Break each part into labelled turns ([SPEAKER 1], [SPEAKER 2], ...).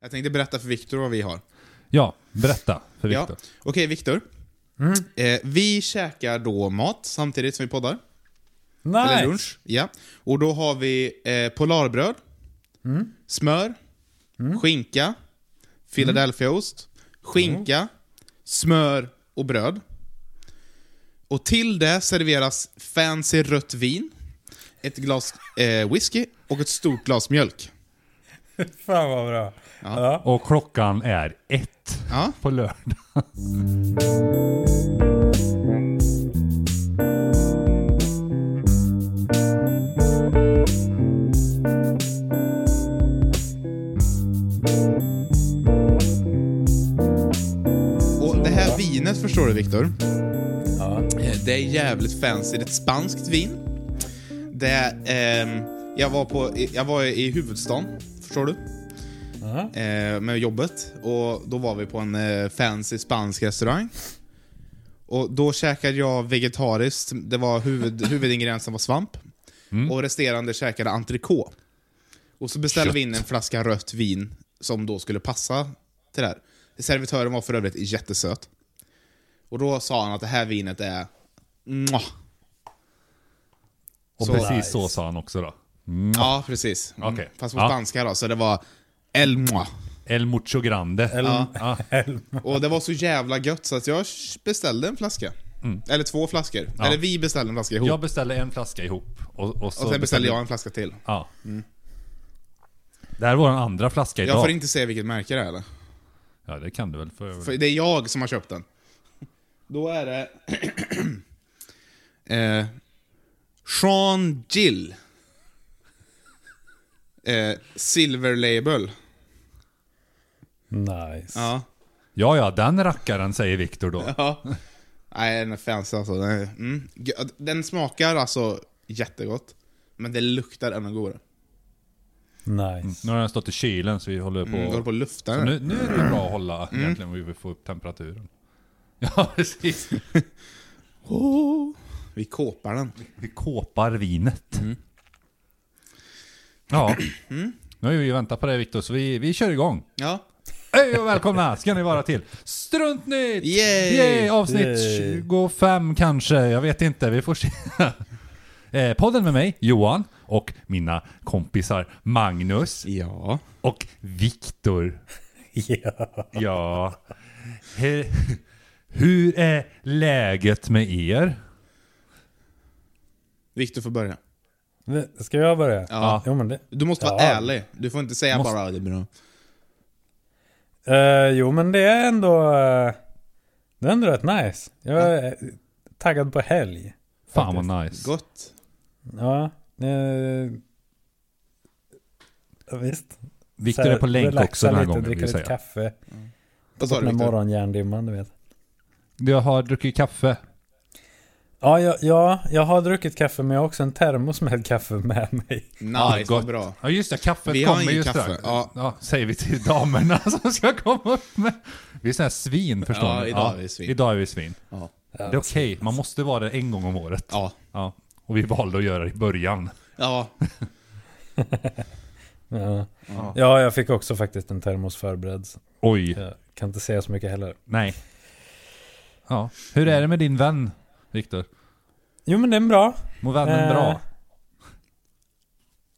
[SPEAKER 1] Jag tänkte berätta för Viktor vad vi har.
[SPEAKER 2] Ja, berätta för Viktor.
[SPEAKER 1] Ja. Okej, Viktor. Eh, vi käkar då mat samtidigt som vi poddar. Eller
[SPEAKER 2] Nej!
[SPEAKER 1] lunch. Ja. Och då har vi eh, polarbröd, smör, skinka, Philadelphiaost, skinka, smör och bröd. Och till det serveras fancy rött vin, ett glas eh, whisky och ett stort glas mjölk.
[SPEAKER 3] Fan vad bra. Ja.
[SPEAKER 2] Och klockan är ett
[SPEAKER 1] Ja.
[SPEAKER 2] på lördag.
[SPEAKER 1] Och det här vinet förstår du Viktor. Eh, Det är jävligt fancy. Det är ett spanskt vin. Det är, ehm, jag, var på, jag var i huvudstaden, förstår du? Eh, med jobbet. Och då var vi på en eh, fancy spansk restaurang. Och då käkade jag vegetariskt. Det var huvud, huvudingrediensen var svamp. Och resterande käkade entrecote. Och så beställde vi in en flaska rött vin som då skulle passa till det här. Servitören var för övrigt jättesöt. Och då sa han att det här vinet är... Mwah.
[SPEAKER 2] Och
[SPEAKER 1] Så
[SPEAKER 2] precis
[SPEAKER 3] nice.
[SPEAKER 2] så sa han också då.
[SPEAKER 1] Ja, precis. Mm.
[SPEAKER 2] Okej.
[SPEAKER 1] Fast på
[SPEAKER 2] Ja.
[SPEAKER 1] spanska då, så det var... El moi.
[SPEAKER 2] El Mucho Grande.
[SPEAKER 3] El,
[SPEAKER 2] Ja.
[SPEAKER 3] el,
[SPEAKER 1] Och det var så jävla gött så att jag beställde en flaska. Eller två flaskor.
[SPEAKER 2] Mm. Ja.
[SPEAKER 1] Eller vi beställde en flaska ihop.
[SPEAKER 2] Jag beställde en flaska ihop. Och, och, så
[SPEAKER 1] och sen beställde jag Mm. en flaska till.
[SPEAKER 2] Ja. Det här var den andra flaska idag.
[SPEAKER 1] Jag får inte säga vilket märke det är eller?
[SPEAKER 2] Ja, det kan du väl. För...
[SPEAKER 1] För det är jag som har köpt den. Då är det... eh, Sean Gill. Eh, silver label.
[SPEAKER 3] nice.
[SPEAKER 1] Ja.
[SPEAKER 2] Ja, ja, den rackaren säger Viktor då.
[SPEAKER 1] Ja. Nej, den är fancy alltså. Den, är, mm. Gö- den smakar alltså jättegott. Men det luktar ännu godare.
[SPEAKER 3] Nice.
[SPEAKER 2] Nu har den stått i kylen så vi håller på...
[SPEAKER 1] Mm. Jag håller på Mm. att lufta
[SPEAKER 2] Så
[SPEAKER 1] den.
[SPEAKER 2] nu, nu är det ju bra att hålla egentligen, vi vill få upp temperaturen. Ja, precis.
[SPEAKER 1] Åh, Vi kåpar den.
[SPEAKER 2] Vi kåpar vinet.
[SPEAKER 3] Mm.
[SPEAKER 2] Ja. Nu har ju vi väntat på det Viktor, så vi, vi kör igång.
[SPEAKER 1] Ja.
[SPEAKER 2] Hej och välkomna ska ni vara till Struntnytt!
[SPEAKER 1] Yay!
[SPEAKER 2] Yay! Avsnitt
[SPEAKER 3] Yay.
[SPEAKER 2] 25 kanske, jag vet inte, vi får se. Eh, podden med mig, Johan, och mina kompisar Magnus
[SPEAKER 1] Ja.
[SPEAKER 2] och Viktor.
[SPEAKER 3] Ja.
[SPEAKER 2] Ja. He, hur är läget med er?
[SPEAKER 1] Viktor får börja.
[SPEAKER 3] Men, Ska jag börja?
[SPEAKER 1] Ja.
[SPEAKER 3] Jo, men det.
[SPEAKER 1] Du måste vara
[SPEAKER 3] Ja.
[SPEAKER 1] ärlig. Du får inte säga
[SPEAKER 2] Måste-
[SPEAKER 1] bara "Ja, det är bra.
[SPEAKER 3] Eh, jo, men det är ändå... eh, det är ändå rätt nice. Jag är eh, taggad på helg.
[SPEAKER 2] Fan vad nice.
[SPEAKER 1] Gott.
[SPEAKER 3] Ja. eh, ja, visst.
[SPEAKER 2] Viktor
[SPEAKER 3] Så här,
[SPEAKER 2] är på länk
[SPEAKER 3] relaxa
[SPEAKER 2] också den här
[SPEAKER 3] lite,
[SPEAKER 2] gången vill
[SPEAKER 3] Dricka
[SPEAKER 2] jag
[SPEAKER 3] lite
[SPEAKER 2] säga.
[SPEAKER 3] kaffe.
[SPEAKER 1] Vad
[SPEAKER 3] Ta
[SPEAKER 1] sa
[SPEAKER 3] bort
[SPEAKER 1] du
[SPEAKER 3] den här
[SPEAKER 1] Viktor?
[SPEAKER 3] morgonjärndimman, du vet.
[SPEAKER 2] Jag har druckit kaffe.
[SPEAKER 3] Ja, ja, ja, jag har druckit kaffe men jag har också en termos med kaffe med mig.
[SPEAKER 2] Ja,
[SPEAKER 1] Nice,
[SPEAKER 2] gott.
[SPEAKER 1] vad bra.
[SPEAKER 2] Ja just det, kaffet
[SPEAKER 1] Vi har
[SPEAKER 2] kommer
[SPEAKER 1] ingen
[SPEAKER 2] ju
[SPEAKER 1] kaffe.
[SPEAKER 2] strax.
[SPEAKER 1] Ja.
[SPEAKER 2] säger vi till damerna som ska komma upp med. Vi är såna här svin förstår
[SPEAKER 1] Ja, idag
[SPEAKER 2] ni.
[SPEAKER 1] är vi svin.
[SPEAKER 2] Idag är vi svin.
[SPEAKER 1] Ja.
[SPEAKER 2] Det är okej, man måste vara det en gång om året.
[SPEAKER 1] Ja.
[SPEAKER 2] Ja. Och vi valde att göra det i början.
[SPEAKER 1] Ja.
[SPEAKER 3] Ja. ja, jag fick också faktiskt en termos förberedd.
[SPEAKER 2] Oj,
[SPEAKER 3] Jag kan inte säga så mycket heller.
[SPEAKER 2] nej. Ja. Hur är det med din vän, Viktor?
[SPEAKER 3] Jo, men den är bra.
[SPEAKER 2] Mår vännen
[SPEAKER 3] Eh.
[SPEAKER 2] bra?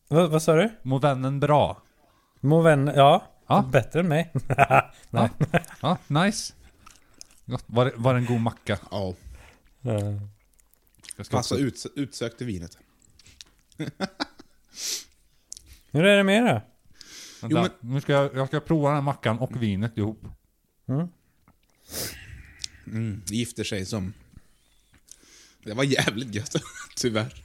[SPEAKER 3] Va, vad sa du?
[SPEAKER 2] Mår vännen bra?
[SPEAKER 3] Må vän, ja.
[SPEAKER 2] Ja.
[SPEAKER 3] Bättre än mig. Nej.
[SPEAKER 2] Ja, nice. Gott. Var, det- var det en god macka?
[SPEAKER 1] ja.
[SPEAKER 3] Ja.
[SPEAKER 2] Jag ska
[SPEAKER 1] Passa
[SPEAKER 2] också-
[SPEAKER 1] ut, utsökt till Alltså, vinet.
[SPEAKER 3] Hur är det med er då?
[SPEAKER 2] Vänta,
[SPEAKER 1] Jo,
[SPEAKER 2] nu ska jag, jag ska prova den här mackan och vinet ihop.
[SPEAKER 1] Mm. Det gifter sig som... Det var jävligt gött. Tyvärr.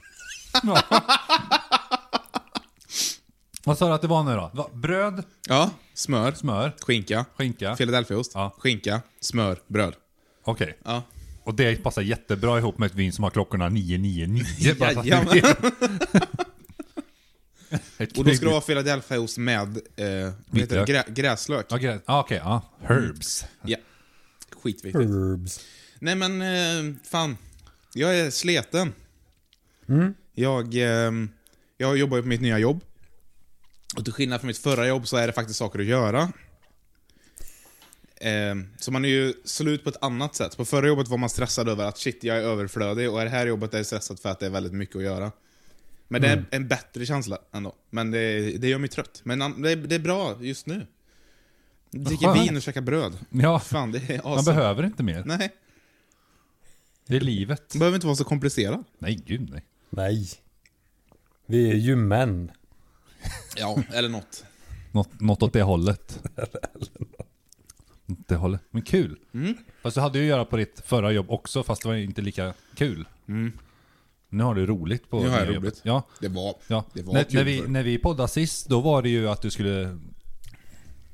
[SPEAKER 2] Vad sa du att det var nu då? Va- Bröd,
[SPEAKER 1] Ja. Smör.
[SPEAKER 2] smör,
[SPEAKER 1] Skinka.
[SPEAKER 2] skinka.
[SPEAKER 1] Philadelphiaost.
[SPEAKER 2] Ja.
[SPEAKER 1] Skinka. Smör. Bröd.
[SPEAKER 2] Okej.
[SPEAKER 1] Ja.
[SPEAKER 2] Och det passar jättebra ihop med ett vin som har klockorna 999. bara så att ni
[SPEAKER 1] Jajamän.
[SPEAKER 2] vet. Ett
[SPEAKER 1] Och då ska
[SPEAKER 2] knygg-
[SPEAKER 1] det vara Philadelphiaost med eh, vad heter det?
[SPEAKER 2] Vitlök.
[SPEAKER 1] Grä, gräslök.
[SPEAKER 2] Ja, gre- ja, okej. Ja. Herbs.
[SPEAKER 1] Ja. Skitviktigt.
[SPEAKER 3] Herbs.
[SPEAKER 1] Nej men, eh, fan. Jag är sleten.
[SPEAKER 2] Mm.
[SPEAKER 1] Jag, eh, jag jobbar ju på mitt nya jobb. Och till skillnad från mitt förra jobb så är det faktiskt saker att göra. Eh, så man är ju slut på ett annat sätt. På förra jobbet var man stressad över att shit, jag är överflödig och det här jobbet är jag stressad för att det är väldigt mycket att göra. Men det
[SPEAKER 2] Mm.
[SPEAKER 1] är en bättre känsla ändå. Men det, det gör mig trött. Men an- det, är- det är bra just nu. Dricka
[SPEAKER 2] skönt.
[SPEAKER 1] vin och käka bröd.
[SPEAKER 2] Ja,
[SPEAKER 1] Fan, det är awesome.
[SPEAKER 2] man behöver inte mer.
[SPEAKER 1] Nej,
[SPEAKER 2] Det är livet.
[SPEAKER 1] det behöver inte vara så komplicerat.
[SPEAKER 2] Nej, gud nej.
[SPEAKER 3] Nej. Vi är ju män.
[SPEAKER 1] Ja, eller något.
[SPEAKER 2] Något, något åt det hållet. Åt det hållet. Men kul.
[SPEAKER 1] Mm.
[SPEAKER 2] Fast du hade ju att göra på ditt förra jobb också, fast det var ju inte lika kul. Nu har du roligt på
[SPEAKER 1] Mm. Nu har jag
[SPEAKER 2] nya
[SPEAKER 1] roligt.
[SPEAKER 2] jobbet. Ja,
[SPEAKER 1] Det var,
[SPEAKER 2] ja.
[SPEAKER 1] det var
[SPEAKER 2] när,
[SPEAKER 1] kul
[SPEAKER 2] när, vi,
[SPEAKER 1] förr.
[SPEAKER 2] när vi poddade sist, då var det ju att du skulle...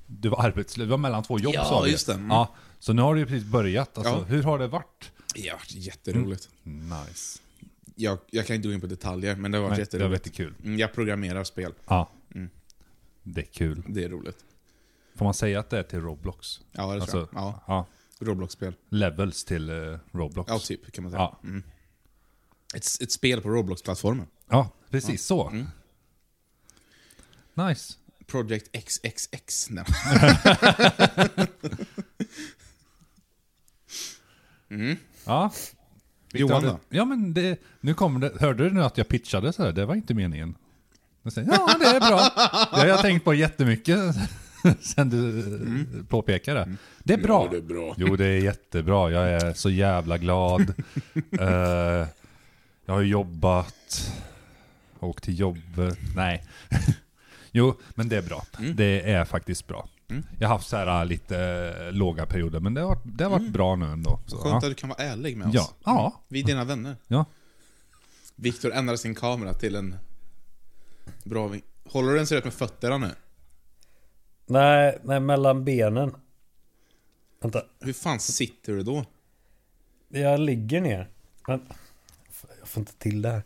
[SPEAKER 2] Du var arbetslös, du var mellan två jobb
[SPEAKER 1] Ja,
[SPEAKER 2] sa vi.
[SPEAKER 1] just det. Mm.
[SPEAKER 2] Ja, så nu har du ju precis börjat. Alltså,
[SPEAKER 1] Ja.
[SPEAKER 2] Hur har det varit?
[SPEAKER 1] Det har varit jätteroligt.
[SPEAKER 2] Nice.
[SPEAKER 1] Jag, jag kan inte gå in på detaljer, men det har varit
[SPEAKER 2] Nej, det var
[SPEAKER 1] jätteroligt.
[SPEAKER 2] jättekul.
[SPEAKER 1] Mm, Jag programmerar spel.
[SPEAKER 2] Ja. Det är kul.
[SPEAKER 1] Det är roligt.
[SPEAKER 2] Får man säga att det är till Roblox?
[SPEAKER 1] Ja, det tror
[SPEAKER 2] Alltså,
[SPEAKER 1] jag. Ja,
[SPEAKER 2] ja.
[SPEAKER 1] Roblox-spel.
[SPEAKER 2] Levels till eh, Roblox.
[SPEAKER 1] Ja, typ kan man säga.
[SPEAKER 2] Ja,
[SPEAKER 1] Ett, ett spel på Roblox-plattformen.
[SPEAKER 2] ja precis så. Nice.
[SPEAKER 1] Project XXX. Nej.
[SPEAKER 2] Ja.
[SPEAKER 1] Johan
[SPEAKER 2] Victor,
[SPEAKER 1] då?
[SPEAKER 2] Ja men det, nu kommer det, hörde du nu att jag pitchade så här? Det var inte meningen. Jag säger, ja det är bra. Det har jag tänkt på jättemycket sen du mm. påpekade. Det är bra.
[SPEAKER 1] det är bra.
[SPEAKER 2] Jo det är jättebra. Jag är så jävla glad. Eh, jag har jobbat. Åkt till jobbet. Nej. Jo, men det är bra. Det är faktiskt bra. Jag har haft så här lite eh, låga perioder, men det har varit, det har varit bra nu ändå. Så,
[SPEAKER 1] Skönt
[SPEAKER 2] ja.
[SPEAKER 1] att du kan vara ärlig med oss.
[SPEAKER 2] Ja. Ja.
[SPEAKER 1] Vi är dina vänner.
[SPEAKER 2] ja.
[SPEAKER 1] Viktor ändrar sin kamera till en bra vink. Håller du den så rätt med fötterna nu?
[SPEAKER 3] Nej, nej, mellan benen. Vänta,
[SPEAKER 1] Hur fan sitter du då?
[SPEAKER 3] jag ligger ner. Men, jag får inte till det här.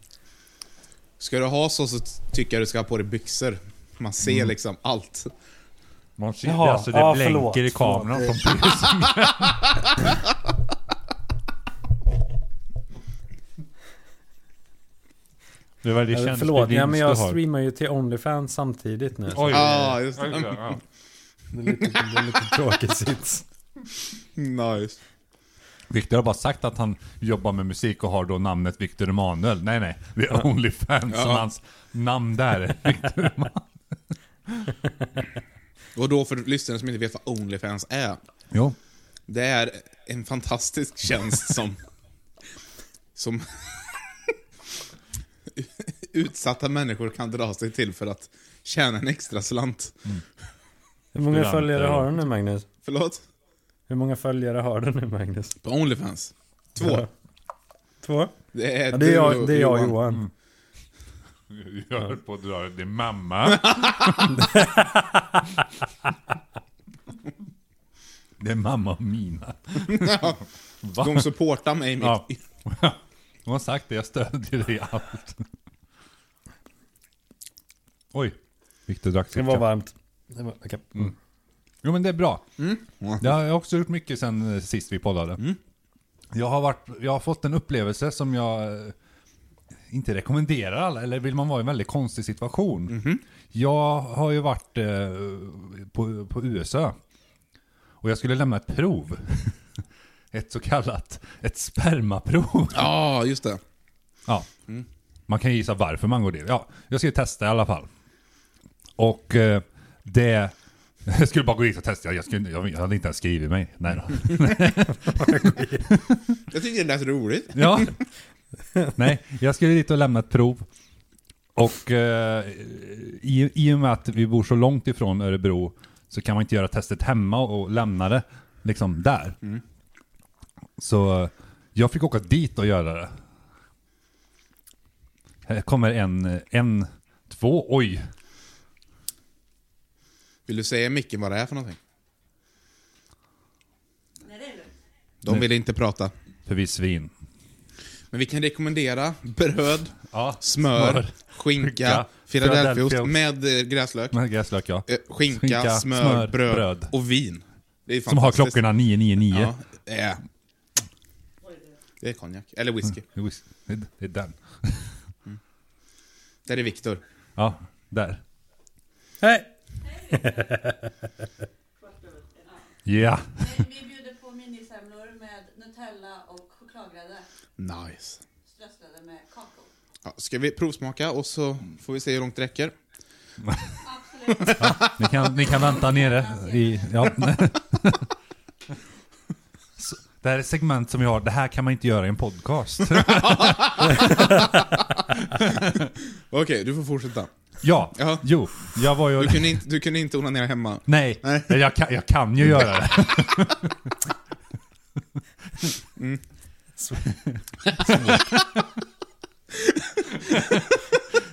[SPEAKER 1] Ska du ha så så tycker jag du ska ha på dig byxor. Man ser
[SPEAKER 3] Mm.
[SPEAKER 1] liksom allt.
[SPEAKER 2] Man ser
[SPEAKER 3] Jaha,
[SPEAKER 2] det, alltså det
[SPEAKER 3] ja,
[SPEAKER 2] blänker
[SPEAKER 3] förlåt,
[SPEAKER 2] i kameran som tusan. Det var det
[SPEAKER 3] Eller,
[SPEAKER 2] känns
[SPEAKER 3] Förlåt,
[SPEAKER 2] det
[SPEAKER 3] ja, men jag
[SPEAKER 2] du har.
[SPEAKER 3] streamar ju till Onlyfans samtidigt nu.
[SPEAKER 2] Oj,
[SPEAKER 1] Ja, just det.
[SPEAKER 2] oj, oj, oj.
[SPEAKER 3] Det är lite, det är lite tråkig sits.
[SPEAKER 1] Nice.
[SPEAKER 2] Victor har bara sagt att han jobbar med musik och har då namnet Victor Emanuel. Nej, nej. Det är Onlyfans som
[SPEAKER 1] Ja.
[SPEAKER 2] hans namn där. Victor Emanuel.
[SPEAKER 1] Och då för lyssnare som inte vet vad Onlyfans är.
[SPEAKER 2] Jo.
[SPEAKER 1] Det är en fantastisk tjänst som... som utsatta människor kan dra sig till för att tjäna en extra slant.
[SPEAKER 3] Hur många
[SPEAKER 2] Studenter.
[SPEAKER 3] följare har du nu Magnus?
[SPEAKER 1] Förlåt?
[SPEAKER 3] Hur många följare har du nu Magnus?
[SPEAKER 1] På Onlyfans. Två.
[SPEAKER 3] Två?
[SPEAKER 1] Det är,
[SPEAKER 3] Ja, det är
[SPEAKER 1] du
[SPEAKER 3] jag,
[SPEAKER 1] och
[SPEAKER 3] det är jag och Johan.
[SPEAKER 2] Jag höll på att dra det. Det är mamma. det är mamma och Mina.
[SPEAKER 1] Ja,
[SPEAKER 2] Va?
[SPEAKER 1] De supportar mig i mitt...
[SPEAKER 2] Ja. Hon har sagt det, jag stödjer dig i allt. Oj. Viktor drack
[SPEAKER 3] Det
[SPEAKER 2] sitt
[SPEAKER 3] var
[SPEAKER 2] kaffe.
[SPEAKER 3] varmt. Det var, okej.
[SPEAKER 2] Jo men det är bra. Det har jag också gjort mycket sen eh, sist vi poddade. Jag, har varit, jag har fått en upplevelse som jag eh, inte rekommenderar alla, eller vill man vara i en väldigt konstig situation. Jag har ju varit eh, på, på USA och jag skulle lämna ett prov. ett så kallat, ett spermaprov.
[SPEAKER 1] Ja, just det.
[SPEAKER 2] Ja. Man kan ju gissa varför man går dit. Ja, jag ska testa i alla fall. Och eh, det... Jag skulle bara gå dit och testa. Jag, skulle, jag hade inte ens skrivit mig. Nej då.
[SPEAKER 1] Jag tyckte det lät roligt.
[SPEAKER 2] Ja. Nej, jag skulle dit och lämna ett prov. Och eh, i, i och med att vi bor så långt ifrån Örebro så kan man inte göra testet hemma och lämna det liksom där. Så eh, jag fick åka dit och göra det. Här kommer en, en, två, oj.
[SPEAKER 1] Vill du säga micken vad det är för någonting?
[SPEAKER 4] Nej, det är lugnt.
[SPEAKER 1] De vill inte prata.
[SPEAKER 2] För vi är svin.
[SPEAKER 1] Men vi kan rekommendera bröd,
[SPEAKER 2] Ja,
[SPEAKER 1] smör,
[SPEAKER 2] smör, skinka,
[SPEAKER 1] skinka, Philadelphiaost
[SPEAKER 2] Philadelphia-ost.
[SPEAKER 1] med eh, gräslök.
[SPEAKER 2] Med gräslök ja.
[SPEAKER 1] Eh, Skinka,
[SPEAKER 2] Skinka,
[SPEAKER 1] smör,
[SPEAKER 2] smör,
[SPEAKER 1] bröd,
[SPEAKER 2] bröd.
[SPEAKER 1] och vin. Det är
[SPEAKER 2] Som har
[SPEAKER 1] fantastiskt.
[SPEAKER 2] klockorna 999.
[SPEAKER 1] Ja, det är- det är konjak. Eller whisky.
[SPEAKER 2] Jo, Det det är den.
[SPEAKER 1] Där är Viktor.
[SPEAKER 2] Ja, där.
[SPEAKER 3] Hej!
[SPEAKER 2] Ja.
[SPEAKER 4] vi bjuder på minisemlor med Nutella och chokladgrädde.
[SPEAKER 1] Nice.
[SPEAKER 4] Strösslade med kakao.
[SPEAKER 1] Ja, ska vi provsmaka och så får vi se hur långt det räcker.
[SPEAKER 4] Absolut.
[SPEAKER 2] Ni kan, ni kan vänta nere i... Ja. Så, Det här är ett segment som vi har, det här kan man inte göra i en podcast.
[SPEAKER 1] Okej, du får fortsätta.
[SPEAKER 2] Ja,
[SPEAKER 1] Ja.
[SPEAKER 2] jo, jag var ju...
[SPEAKER 1] Du kunde inte, du kunde inte onanera hemma.
[SPEAKER 2] Nej,
[SPEAKER 1] Nej.
[SPEAKER 2] Jag, kan, jag kan ju göra det.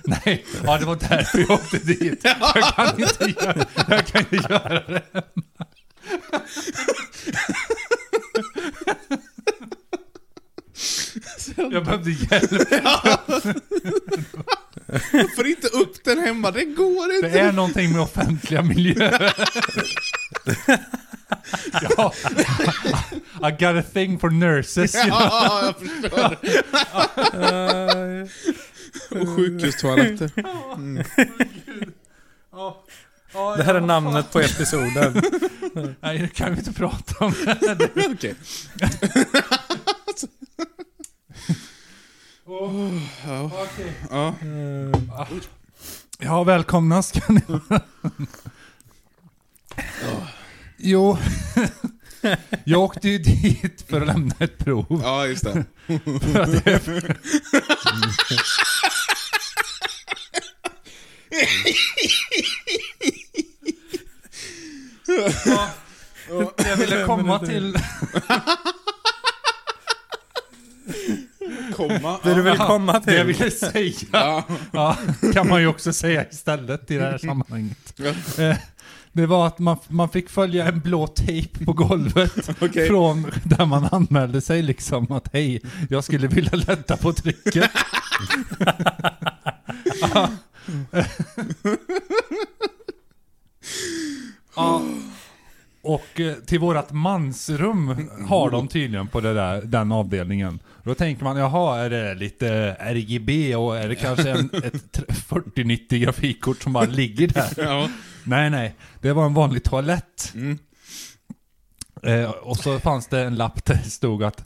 [SPEAKER 2] Nej, ja, det var därför jag åkte dit. Jag kan inte göra, jag kan inte göra det hemma. Jag behövde hjälp.
[SPEAKER 1] Jag får inte upp den hemma, det går inte!
[SPEAKER 2] Det är någonting med offentliga miljöer. ja. I got a thing for nurses.
[SPEAKER 1] Ja, jag förstår. Och sjukhustoaletter.
[SPEAKER 3] Det här är namnet på episoden.
[SPEAKER 2] Nej, det kan vi inte prata om.
[SPEAKER 1] Okej. Ja.
[SPEAKER 2] Ja, välkomna ska ni vara. Jo. Jag åkte ju dit för att lämna ett prov.
[SPEAKER 1] ja, just det.
[SPEAKER 2] För att jag- Ja, det jag ville komma till...
[SPEAKER 1] Komma.
[SPEAKER 3] Det du vill komma
[SPEAKER 2] Det jag
[SPEAKER 3] till.
[SPEAKER 2] ville säga
[SPEAKER 1] Ja.
[SPEAKER 2] ja, kan man ju också säga istället i det här sammanhanget.
[SPEAKER 1] Ja.
[SPEAKER 2] Eh, Det var att man, man fick följa en blå tejp på golvet
[SPEAKER 1] Okej.
[SPEAKER 2] från där man anmälde sig liksom att hej, jag skulle vilja lätta på trycket. Ja. ja. Och eh, till vårat mansrum har de tydligen på det där, den avdelningen. Då tänker man, jaha, är det lite RGB och är det kanske en, ett tr- 4090 grafikkort som bara ligger där?
[SPEAKER 1] Ja.
[SPEAKER 2] Nej, nej. Det var en vanlig toalett.
[SPEAKER 1] Mm.
[SPEAKER 2] Eh, och så fanns det en lapp där det stod att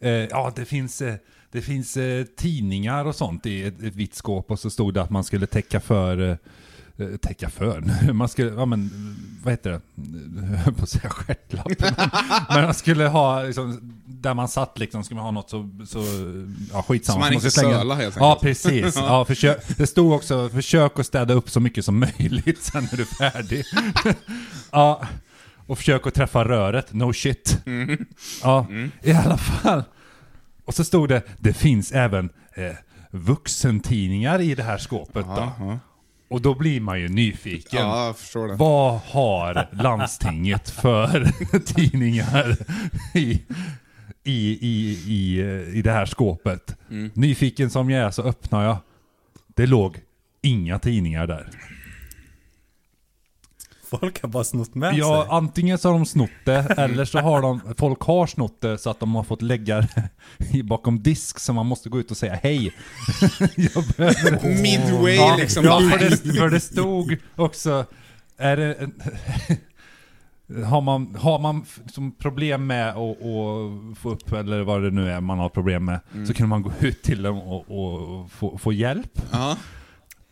[SPEAKER 2] eh, ja, det finns, eh, det finns eh, tidningar och sånt i ett, ett vitt skåp. Och så stod det att man skulle täcka för... Eh, eh, täcka för? Man skulle, ja men, vad heter det? Jag höll på att säga stjärtlappen. men man skulle ha, liksom, där man satt liksom, skulle man ha något så, så ja skitsamma.
[SPEAKER 1] Så man
[SPEAKER 2] som
[SPEAKER 1] inte
[SPEAKER 2] skulle slänga.
[SPEAKER 1] sölar, helt
[SPEAKER 2] Ja,
[SPEAKER 1] enkelt.
[SPEAKER 2] precis. Ja, försök, det stod också, försök att städa upp så mycket som möjligt, sen är du färdig. ja, och försök att träffa röret, no shit.
[SPEAKER 1] Mm.
[SPEAKER 2] Ja, i alla fall. Och så stod det, det finns även eh, vuxentidningar i det här skåpet då.
[SPEAKER 1] Ja,
[SPEAKER 2] Och då blir man ju nyfiken.
[SPEAKER 1] ja, jag förstår det.
[SPEAKER 2] Vad har landstinget för tidningar i, i, i, i, eh, i det här skåpet? Nyfiken som jag är så öppnar jag. Det låg inga tidningar där.
[SPEAKER 3] Folk har bara snott med
[SPEAKER 2] Ja,
[SPEAKER 3] sig.
[SPEAKER 2] antingen så har de snott det, eller så har de, folk har snott det så att de har fått lägga det i- bakom disk så man måste gå ut och säga hej. jag behöver
[SPEAKER 1] Midway
[SPEAKER 2] Ja,
[SPEAKER 1] liksom.
[SPEAKER 2] Ja, för, det, för det stod också... Är det en, har man, har man f- som problem med att att få upp, eller vad det nu är man har problem med,
[SPEAKER 1] Mm.
[SPEAKER 2] så kan man gå ut till dem och, och få, få hjälp.
[SPEAKER 1] Ja.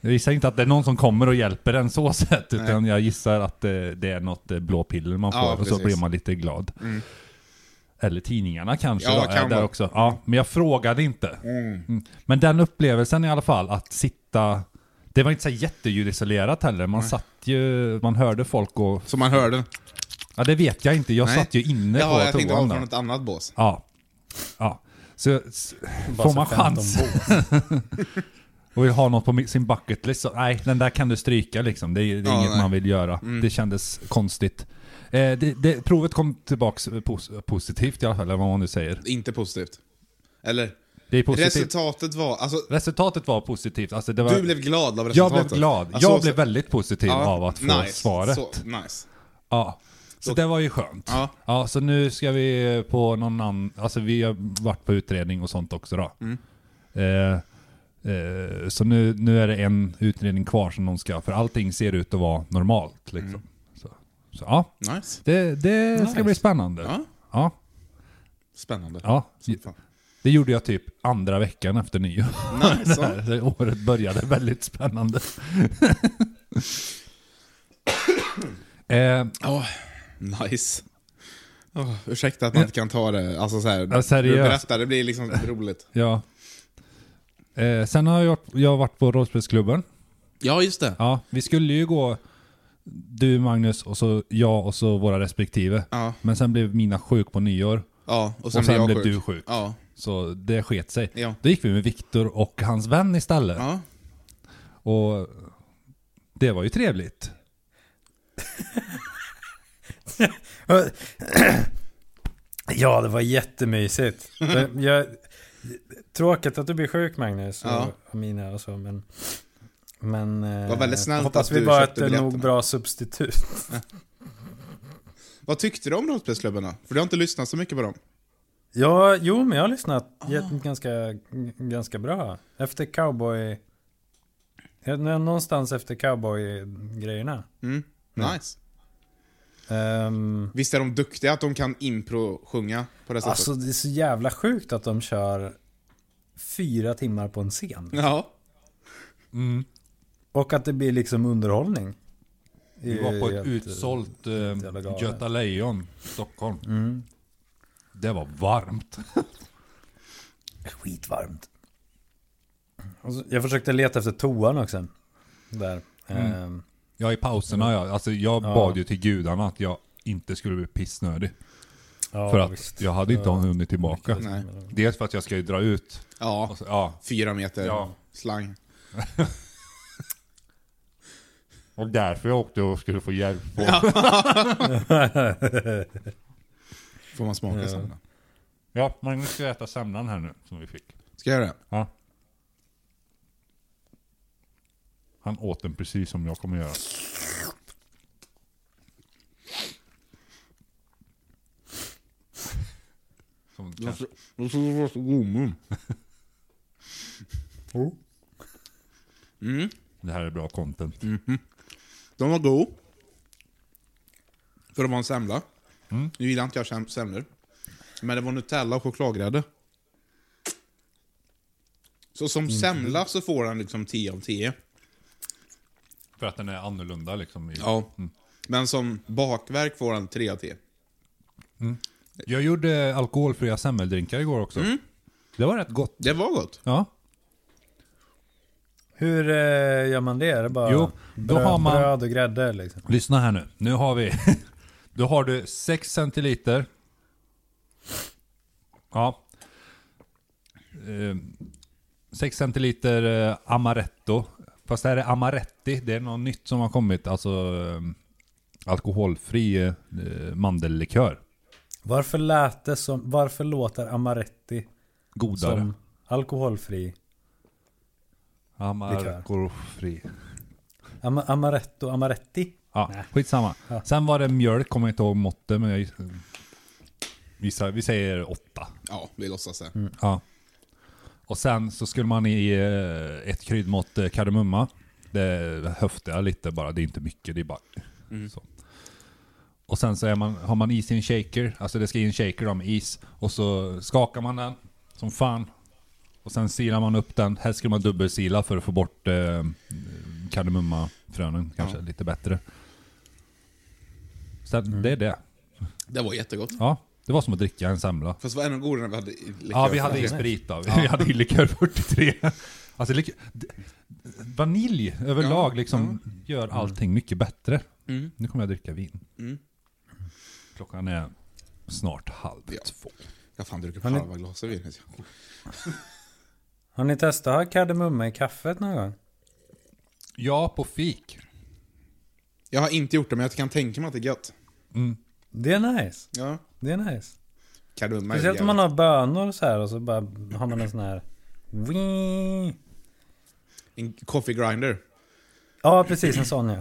[SPEAKER 2] Jag gissar inte att det är någon som kommer och hjälper en så sett, utan jag gissar att det, det är något eh, blå piller man får
[SPEAKER 1] Ja,
[SPEAKER 2] och så
[SPEAKER 1] precis. Mm.
[SPEAKER 2] blir man lite glad. Eller tidningarna kanske
[SPEAKER 1] Ja,
[SPEAKER 2] då,
[SPEAKER 1] kan
[SPEAKER 2] är där
[SPEAKER 1] vara.
[SPEAKER 2] också. Ja, men jag frågade inte. Mm. Men den upplevelsen i alla fall, att sitta... Det var inte så här jätteljudisolerat heller, man satt ju, man hörde folk och...
[SPEAKER 1] Som man hörde.
[SPEAKER 2] Ja det vet jag inte, jag
[SPEAKER 1] Nej.
[SPEAKER 2] satt ju inne
[SPEAKER 1] Ja,
[SPEAKER 2] på
[SPEAKER 1] jag tänkte det
[SPEAKER 2] toan
[SPEAKER 1] var
[SPEAKER 2] där.
[SPEAKER 1] från ett annat bås.
[SPEAKER 2] Ja. Ja. Så, s-
[SPEAKER 3] Bara
[SPEAKER 2] får
[SPEAKER 3] så
[SPEAKER 2] man
[SPEAKER 3] 15
[SPEAKER 2] chans
[SPEAKER 3] bås.
[SPEAKER 2] och vill ha något på mi- sin bucket list, så, nej den där kan du stryka liksom. Det, är- det är
[SPEAKER 1] Ja,
[SPEAKER 2] inget
[SPEAKER 1] nej. Mm.
[SPEAKER 2] man vill göra. Det kändes konstigt. Eh, det, det, provet kom tillbaks eh, pos- positivt i alla fall, eller vad man nu säger.
[SPEAKER 1] Inte positivt. Eller?
[SPEAKER 2] Det är positivt.
[SPEAKER 1] Resultatet var... Alltså,
[SPEAKER 2] Resultatet var positivt. Alltså, det var,
[SPEAKER 1] du blev glad av
[SPEAKER 2] jag
[SPEAKER 1] resultatet.
[SPEAKER 2] blev glad.
[SPEAKER 1] Alltså,
[SPEAKER 2] jag
[SPEAKER 1] så-
[SPEAKER 2] blev väldigt positiv
[SPEAKER 1] ja,
[SPEAKER 2] av att få
[SPEAKER 1] nice.
[SPEAKER 2] svaret.
[SPEAKER 1] Så, nice.
[SPEAKER 2] Ja. Så
[SPEAKER 1] Så-
[SPEAKER 2] det var ju skönt.
[SPEAKER 1] Ja.
[SPEAKER 2] ja, så nu ska vi på någon annan, alltså vi har varit på utredning och sånt också då.
[SPEAKER 1] Mm.
[SPEAKER 2] Eh, eh, så nu, nu är det en utredning kvar som de ska, för allting ser ut att vara normalt liksom. Så. Så, ja,
[SPEAKER 1] Nice.
[SPEAKER 2] det, det ska
[SPEAKER 1] Mm. Nice.
[SPEAKER 2] bli spännande.
[SPEAKER 1] Ja,
[SPEAKER 2] Ja,
[SPEAKER 1] spännande.
[SPEAKER 2] ja.
[SPEAKER 1] Som fan.
[SPEAKER 2] Det gjorde jag typ andra veckan efter nyår.
[SPEAKER 1] Nice.
[SPEAKER 2] Det här- det året började väldigt spännande. eh,
[SPEAKER 1] Ja, nice. Åh, ursäkta att man inte kan ta det. Alltså så här,
[SPEAKER 2] Ja, seriöst.
[SPEAKER 1] du berättar, det blir liksom roligt.
[SPEAKER 2] ja. Eh, sen har jag varit, jag har varit på rollspelsklubben.
[SPEAKER 1] Ja, just det.
[SPEAKER 2] Ja, vi skulle ju gå du Magnus och så jag och så våra respektive.
[SPEAKER 1] Ja,
[SPEAKER 2] Men sen blev mina sjuk på nyår.
[SPEAKER 1] ja. Och sen,
[SPEAKER 2] och sen
[SPEAKER 1] jag
[SPEAKER 2] blev
[SPEAKER 1] sjuk.
[SPEAKER 2] du sjuk.
[SPEAKER 1] Ja,
[SPEAKER 2] Så det sket sig.
[SPEAKER 1] ja.
[SPEAKER 2] Då gick vi med Viktor och hans vän istället.
[SPEAKER 1] ja.
[SPEAKER 2] Och det var ju trevligt.
[SPEAKER 3] Ja, det var jättemysigt. Det- Jag, tråkigt att du blir sjuk Magnus och,
[SPEAKER 1] Ja.
[SPEAKER 3] och Mina och så, men... Men... eh,
[SPEAKER 1] Var väldigt snällt
[SPEAKER 3] hoppas
[SPEAKER 1] att
[SPEAKER 3] vi
[SPEAKER 1] du
[SPEAKER 3] var ett
[SPEAKER 1] köpte biljetterna.
[SPEAKER 3] nog bra substitut.
[SPEAKER 1] Vad tyckte du om rollspelsklubben då? För du har inte lyssnat så mycket på dem.
[SPEAKER 3] Ja, jo, men jag har lyssnat
[SPEAKER 2] Ah.
[SPEAKER 3] jätte- ganska, g- ganska bra. Efter cowboy... Ja, nå- Någonstans efter cowboy-grejerna.
[SPEAKER 1] Mm.
[SPEAKER 3] Nej.
[SPEAKER 1] Nice.
[SPEAKER 3] Ehm,
[SPEAKER 1] Visst är de duktiga att de kan impro-sjunga på det sättet?
[SPEAKER 3] alltså det är så jävla sjukt att de kör fyra timmar på en scen.
[SPEAKER 1] Ja.
[SPEAKER 3] Mm. Och att det blir liksom underhållning.
[SPEAKER 2] Vi var på ett
[SPEAKER 3] Jätte-
[SPEAKER 2] utsålt
[SPEAKER 3] jävla
[SPEAKER 2] eh,
[SPEAKER 3] galet.
[SPEAKER 2] Göta Lejon, Stockholm.
[SPEAKER 3] Mm.
[SPEAKER 2] Det var varmt.
[SPEAKER 3] Skitvarmt. Och så- Jag försökte leta efter toan också. Där.
[SPEAKER 2] Mm.
[SPEAKER 3] Ehm,
[SPEAKER 2] Ja, i pauserna ja. Alltså jag
[SPEAKER 3] Ja.
[SPEAKER 2] bad ju till gudarna att jag inte skulle bli pissnödig.
[SPEAKER 3] ja,
[SPEAKER 2] för att
[SPEAKER 3] visst.
[SPEAKER 2] jag hade inte
[SPEAKER 3] Ja. Mm.
[SPEAKER 2] hunnit tillbaka.
[SPEAKER 1] Nej.
[SPEAKER 2] Dels för att jag ska ju dra ut.
[SPEAKER 1] Ja.
[SPEAKER 2] Och så, ja.
[SPEAKER 1] Fyra meter
[SPEAKER 2] Ja.
[SPEAKER 1] slang.
[SPEAKER 2] Och därför jag åkte och skulle få hjälp på. Ja.
[SPEAKER 1] Får man smaka
[SPEAKER 3] Ja.
[SPEAKER 1] sen då?
[SPEAKER 2] Magnus ska äta semlan här nu som vi fick.
[SPEAKER 1] Ska jag göra det?
[SPEAKER 2] Ja. Han åt den precis som jag kommer göra. Som kanske-
[SPEAKER 1] Mm.
[SPEAKER 2] Oh. Det här är bra content.
[SPEAKER 1] De var god. För de var en semla.
[SPEAKER 2] Mm.
[SPEAKER 1] Nu gillar inte jag sem- semlor. Men det var Nutella och chokladgrädde. Så som semla så får den liksom 10 av 10.
[SPEAKER 2] För att den är annorlunda liksom. I...
[SPEAKER 1] Ja. Men som bakverk får den 3 av 10.
[SPEAKER 2] Jag gjorde alkoholfria semmeldrinkar igår också. Det var rätt gott.
[SPEAKER 1] Det var gott.
[SPEAKER 2] Ja.
[SPEAKER 3] Hur eh, gör man det? Är det bara
[SPEAKER 2] Jo, då
[SPEAKER 3] bröd,
[SPEAKER 2] har man-
[SPEAKER 3] bröd och grädde liksom?
[SPEAKER 2] Lyssna här nu. Nu har vi... Då har du 6 centiliter. Ja. 6 centiliter eh, amaretto. Fast det här är amaretti. Det är något nytt som har kommit. Alltså eh, alkoholfri eh, mandellikör.
[SPEAKER 3] Varför, lät det som, varför låter Amaretti
[SPEAKER 2] Godare.
[SPEAKER 3] som alkoholfri?
[SPEAKER 2] Amargofri.
[SPEAKER 3] Ama, amaretto, Amaretti?
[SPEAKER 2] Ja, skitsamma.
[SPEAKER 3] Ja.
[SPEAKER 2] Sen var det mjölk, kommer jag inte ihåg måttet, men jag giss- gissar, vi säger åtta.
[SPEAKER 1] Ja, vi låtsas det.
[SPEAKER 2] Ja. Och sen så skulle man i eh, ett kryddmått eh, kardemumma. Det höftar jag lite bara, det är inte mycket, det är bara så. Och sen så är man, har man is i en shaker, alltså det ska i en shaker då med is. Och så skakar man den som fan. Och sen silar man upp den, helst skulle man dubbelsila för att få bort eh, kardemummafrönen kanske lite bättre. Sen, det är det.
[SPEAKER 1] Det var jättegott.
[SPEAKER 2] Ja, det var som att dricka en semla.
[SPEAKER 1] Fast det var ännu godare när vi hade i-
[SPEAKER 2] Ja, vi hade ju
[SPEAKER 1] likör.
[SPEAKER 2] sprit då. Vi hade ju likör 43. Alltså, lik d- vanilj överlag
[SPEAKER 1] Ja,
[SPEAKER 2] liksom gör allting mycket bättre.
[SPEAKER 1] Mm.
[SPEAKER 2] Nu kommer jag dricka vin.
[SPEAKER 1] Mm.
[SPEAKER 2] Klockan är snart halv
[SPEAKER 1] Ja.
[SPEAKER 2] två.
[SPEAKER 1] Jag fan druckit
[SPEAKER 3] Har ni-
[SPEAKER 1] halva glaset vin. vet jag.
[SPEAKER 3] Har ni testat att ha kardemumma i kaffet någon gång?
[SPEAKER 2] Ja, på fik.
[SPEAKER 1] Jag har inte gjort det, men jag kan tänka mig att det är gött.
[SPEAKER 3] Det är nice.
[SPEAKER 1] Ja.
[SPEAKER 3] Det är nice.
[SPEAKER 1] Kardemumma är
[SPEAKER 3] Speciellt om
[SPEAKER 1] jävligt-
[SPEAKER 3] man har bönor så här och så bara har man en sån här...
[SPEAKER 1] En coffee grinder.
[SPEAKER 3] Ja, precis en sån ja.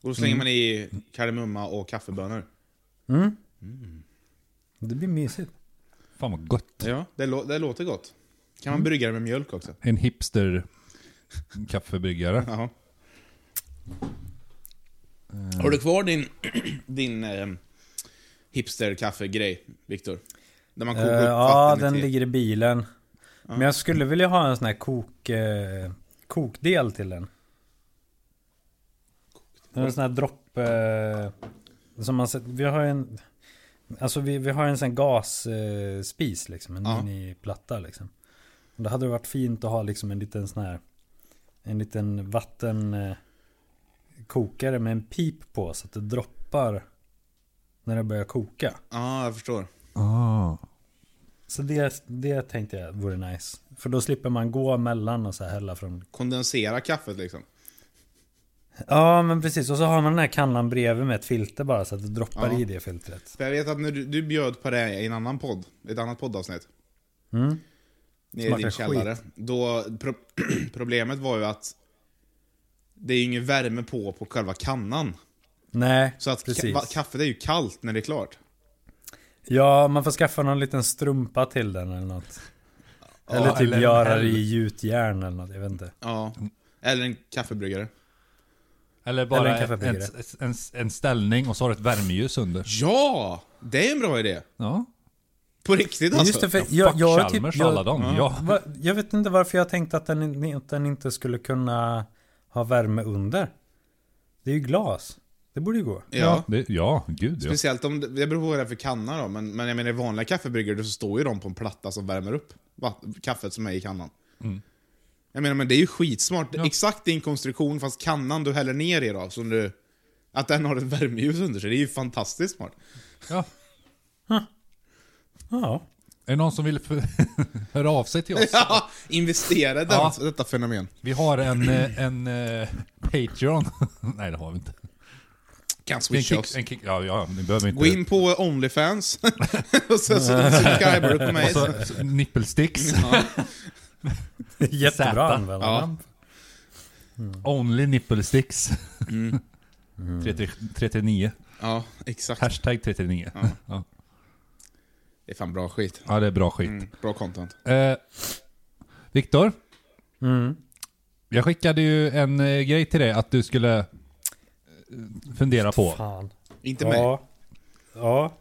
[SPEAKER 1] Och då slänger man i kardemumma och kaffebönor.
[SPEAKER 3] Mm. Det blir mysigt.
[SPEAKER 2] Fan vad gott.
[SPEAKER 1] Ja, det, lå- det låter gott. Kan
[SPEAKER 3] Mm.
[SPEAKER 1] man brygga det med mjölk också?
[SPEAKER 2] En hipster kaffebryggare.
[SPEAKER 1] Jaha.
[SPEAKER 3] Eh.
[SPEAKER 1] Har du kvar din, din eh, hipsterkaffegrej, Viktor? Där man kokar
[SPEAKER 3] Eh,
[SPEAKER 1] upp
[SPEAKER 3] ja,
[SPEAKER 1] vatten
[SPEAKER 3] den
[SPEAKER 1] i te.
[SPEAKER 3] ligger i bilen. Men jag skulle vilja ha en sån här kok, eh, kokdel till den. En sån här dropp... Eh, som man sett, vi har ju en... Alltså vi, vi har en sån gasspis eh, spis liksom. En
[SPEAKER 1] Ja.
[SPEAKER 3] miniplatta liksom. Och då hade det varit fint att ha liksom en liten sån här... En liten vatten... Eh, kokare med en pip på så att det droppar när det börjar koka.
[SPEAKER 1] Ja, jag förstår.
[SPEAKER 2] Ah.
[SPEAKER 3] Så det, det tänkte jag vore nice. För då slipper man gå mellan och så här hälla från...
[SPEAKER 1] Kondensera kaffet liksom.
[SPEAKER 3] Ja men precis, och så har man den här kannan bredvid med ett filter bara så att det droppar
[SPEAKER 1] Ja.
[SPEAKER 3] i det filtret.
[SPEAKER 1] För jag vet att när du, du bjöd på det i en annan podd, ett annat poddavsnitt.
[SPEAKER 3] Mm.
[SPEAKER 1] Nere i
[SPEAKER 3] Smakar
[SPEAKER 1] din källare. Då, pro problemet var ju att det är ju ingen värme på på själva kannan.
[SPEAKER 3] Nej,
[SPEAKER 1] Så att ka
[SPEAKER 3] precis.
[SPEAKER 1] va- kaffet är ju kallt när det är klart.
[SPEAKER 3] ja, man får skaffa någon liten strumpa till den eller något. eller typ
[SPEAKER 2] eller en
[SPEAKER 3] göra det
[SPEAKER 2] häll.
[SPEAKER 3] i gjutjärn eller något, jag vet inte.
[SPEAKER 1] Ja.
[SPEAKER 3] Mm.
[SPEAKER 1] Eller en kaffebryggare.
[SPEAKER 2] Eller
[SPEAKER 3] Eller
[SPEAKER 2] bara
[SPEAKER 3] en
[SPEAKER 2] en, en,
[SPEAKER 3] kaffebryggare.
[SPEAKER 2] en, en ställning och så har du ett värmeljus under.
[SPEAKER 1] Ja! Det är en bra idé.
[SPEAKER 2] Ja.
[SPEAKER 1] På riktigt
[SPEAKER 3] Men
[SPEAKER 1] alltså.
[SPEAKER 3] Just det, för
[SPEAKER 2] Jag,
[SPEAKER 3] jag,
[SPEAKER 2] Fuck
[SPEAKER 3] jag, har
[SPEAKER 2] Chalmers
[SPEAKER 3] typ,
[SPEAKER 2] och alla
[SPEAKER 3] jag,
[SPEAKER 2] dem. Ja.
[SPEAKER 3] va, jag vet inte varför jag tänkte att den, att den inte skulle kunna ha värme under. Det är ju glas. Det borde ju gå.
[SPEAKER 1] Ja.
[SPEAKER 2] Det, ja, gud ja.
[SPEAKER 1] Speciellt om, det det beror på vad det är för kanna då, men, men jag menar i vanliga kaffebryggare så står ju de på en platta som värmer upp vatt- kaffet som är i kannan.
[SPEAKER 2] Mm.
[SPEAKER 1] Jag menar men det är ju skitsmart, exakt din konstruktion fast kannan du häller ner i då, som du, att den har ett värmeljus under sig, det är ju fantastiskt smart.
[SPEAKER 2] ja.
[SPEAKER 3] Ja.
[SPEAKER 2] Är det någon som vill för, höra av sig till oss?
[SPEAKER 1] Ja, investera i den,
[SPEAKER 2] Ja.
[SPEAKER 1] detta fenomen.
[SPEAKER 2] Vi har en, eh, en eh, Patreon. Nej, det har vi inte.
[SPEAKER 1] Kan
[SPEAKER 2] En
[SPEAKER 1] swisha
[SPEAKER 2] kick,
[SPEAKER 1] oss.
[SPEAKER 2] en kick, ja, ja, ni behöver inte...
[SPEAKER 1] Gå in på Onlyfans, och sen så subscriber du på
[SPEAKER 2] och
[SPEAKER 1] mig.
[SPEAKER 2] så, så, nippelsticks.
[SPEAKER 3] Jättebra
[SPEAKER 2] Zäta.
[SPEAKER 3] användarnamn.
[SPEAKER 1] Ja.
[SPEAKER 2] Only nipplesticks.
[SPEAKER 1] Mm.
[SPEAKER 2] 39.
[SPEAKER 1] ja, exakt.
[SPEAKER 2] Hashtag 39. Ja. Ja.
[SPEAKER 1] Det är fan bra skit.
[SPEAKER 2] det är bra skit.
[SPEAKER 1] Mm, bra content.
[SPEAKER 2] Eh, Viktor,
[SPEAKER 3] Mm.
[SPEAKER 2] jag skickade ju en eh, grej till dig att du skulle eh, fundera på.
[SPEAKER 3] Fan.
[SPEAKER 1] Inte mig.
[SPEAKER 3] Ja. ja.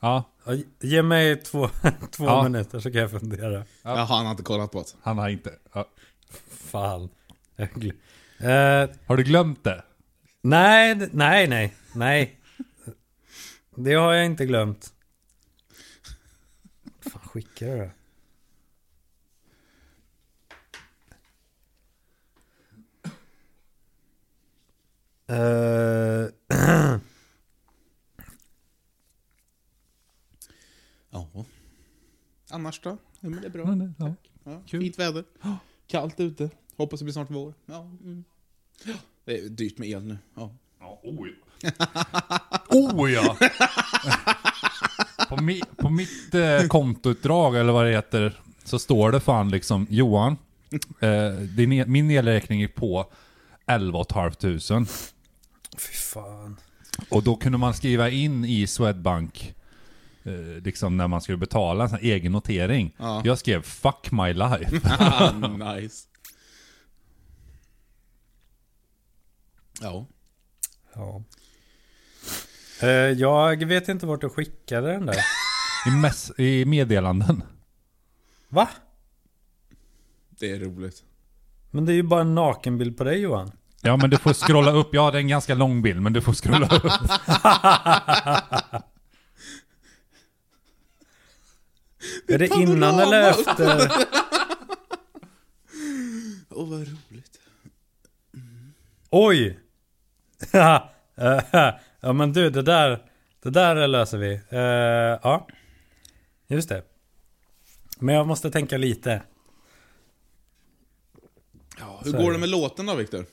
[SPEAKER 2] Ja,
[SPEAKER 3] Ja, Ge mig två, två
[SPEAKER 2] Ja.
[SPEAKER 3] minuter så kan jag fundera.
[SPEAKER 1] Jaha, han har inte kollat på det.
[SPEAKER 2] han har inte... Ja.
[SPEAKER 3] Fan. Jag glö- Eh,
[SPEAKER 2] Har du glömt det?
[SPEAKER 3] nej, d- nej, nej, nej. Det har jag inte glömt. Fan, skicka det då. Eh,
[SPEAKER 1] Ja. Annars då? Ja, men det är bra.
[SPEAKER 2] Ja. Ja.
[SPEAKER 1] Ja,
[SPEAKER 2] Kul.
[SPEAKER 1] Fint väder. Kallt ute. Hoppas det blir snart vår. Ja, mm. Ja, Det är dyrt med el nu. Ja.
[SPEAKER 2] Oh ja. oh ja! på, mi, på mitt eh, kontoutdrag, eller vad det heter, så står det fan liksom Johan, eh, din, e- min elräkning är på 11 500.
[SPEAKER 3] fy fan.
[SPEAKER 2] Och då kunde man skriva in i Swedbank, eh, liksom när man skulle betala en sån här egen notering.
[SPEAKER 1] Ja.
[SPEAKER 2] Jag skrev 'fuck my life'
[SPEAKER 1] Ah, nice. Ja.
[SPEAKER 3] Ja. Eh, jag vet inte vart du skickade den där.
[SPEAKER 2] i, mess, i meddelanden.
[SPEAKER 3] Va?
[SPEAKER 1] Det är roligt.
[SPEAKER 3] Men det är ju bara en nakenbild på dig Johan.
[SPEAKER 2] Ja men du får scrolla upp, ja det är en ganska lång bild men du får scrolla upp.
[SPEAKER 3] Är det
[SPEAKER 1] panorama.
[SPEAKER 3] innan eller efter?
[SPEAKER 1] Åh, vad roligt.
[SPEAKER 3] Oj! ja men du, det där, det där löser vi. Eh, ja, just det. Men jag måste tänka lite.
[SPEAKER 1] Ja, hur
[SPEAKER 3] Så är
[SPEAKER 1] går
[SPEAKER 3] det.
[SPEAKER 1] det med låten då, Viktor?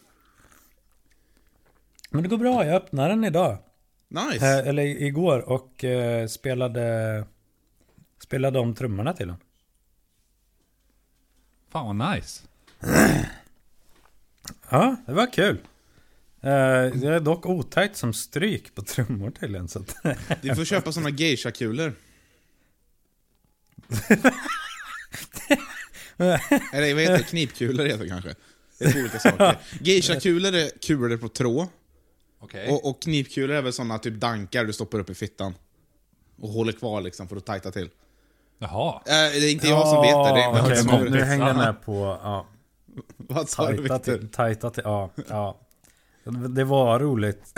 [SPEAKER 3] Men det går bra, jag öppnade den idag.
[SPEAKER 1] Nice.
[SPEAKER 3] Eh, eller igår och eh, spelade, spelade om trummorna till den.
[SPEAKER 2] Fan vad nice.
[SPEAKER 3] Ja, det var kul. Eh, det är dock otajt som stryk på trummor tydligen. Så att,
[SPEAKER 1] Du får köpa såna geisha-kulor. Eller vad heter det? Knipkulor heter det kanske. Det är två olika saker. Geisha-kulor är kulor på tråd.
[SPEAKER 2] Okej.
[SPEAKER 3] Eh.
[SPEAKER 1] Och, och knipkulor är väl såna typ dankar du stoppar upp i fittan. Och håller kvar liksom för att tajta till. Eh,
[SPEAKER 2] Jaha.
[SPEAKER 1] det är inte jag som vet det, det är
[SPEAKER 2] Ja,
[SPEAKER 1] en
[SPEAKER 2] okej,
[SPEAKER 1] kompis
[SPEAKER 2] men-
[SPEAKER 1] som-
[SPEAKER 2] nu
[SPEAKER 3] nu
[SPEAKER 2] kompis. hänger
[SPEAKER 3] hänger
[SPEAKER 2] jag
[SPEAKER 3] jag
[SPEAKER 2] med
[SPEAKER 3] med på... Ja,
[SPEAKER 1] Vad sa du
[SPEAKER 3] tajta
[SPEAKER 1] Viktor?
[SPEAKER 3] till, tajta till, ja, ja. Det var roligt.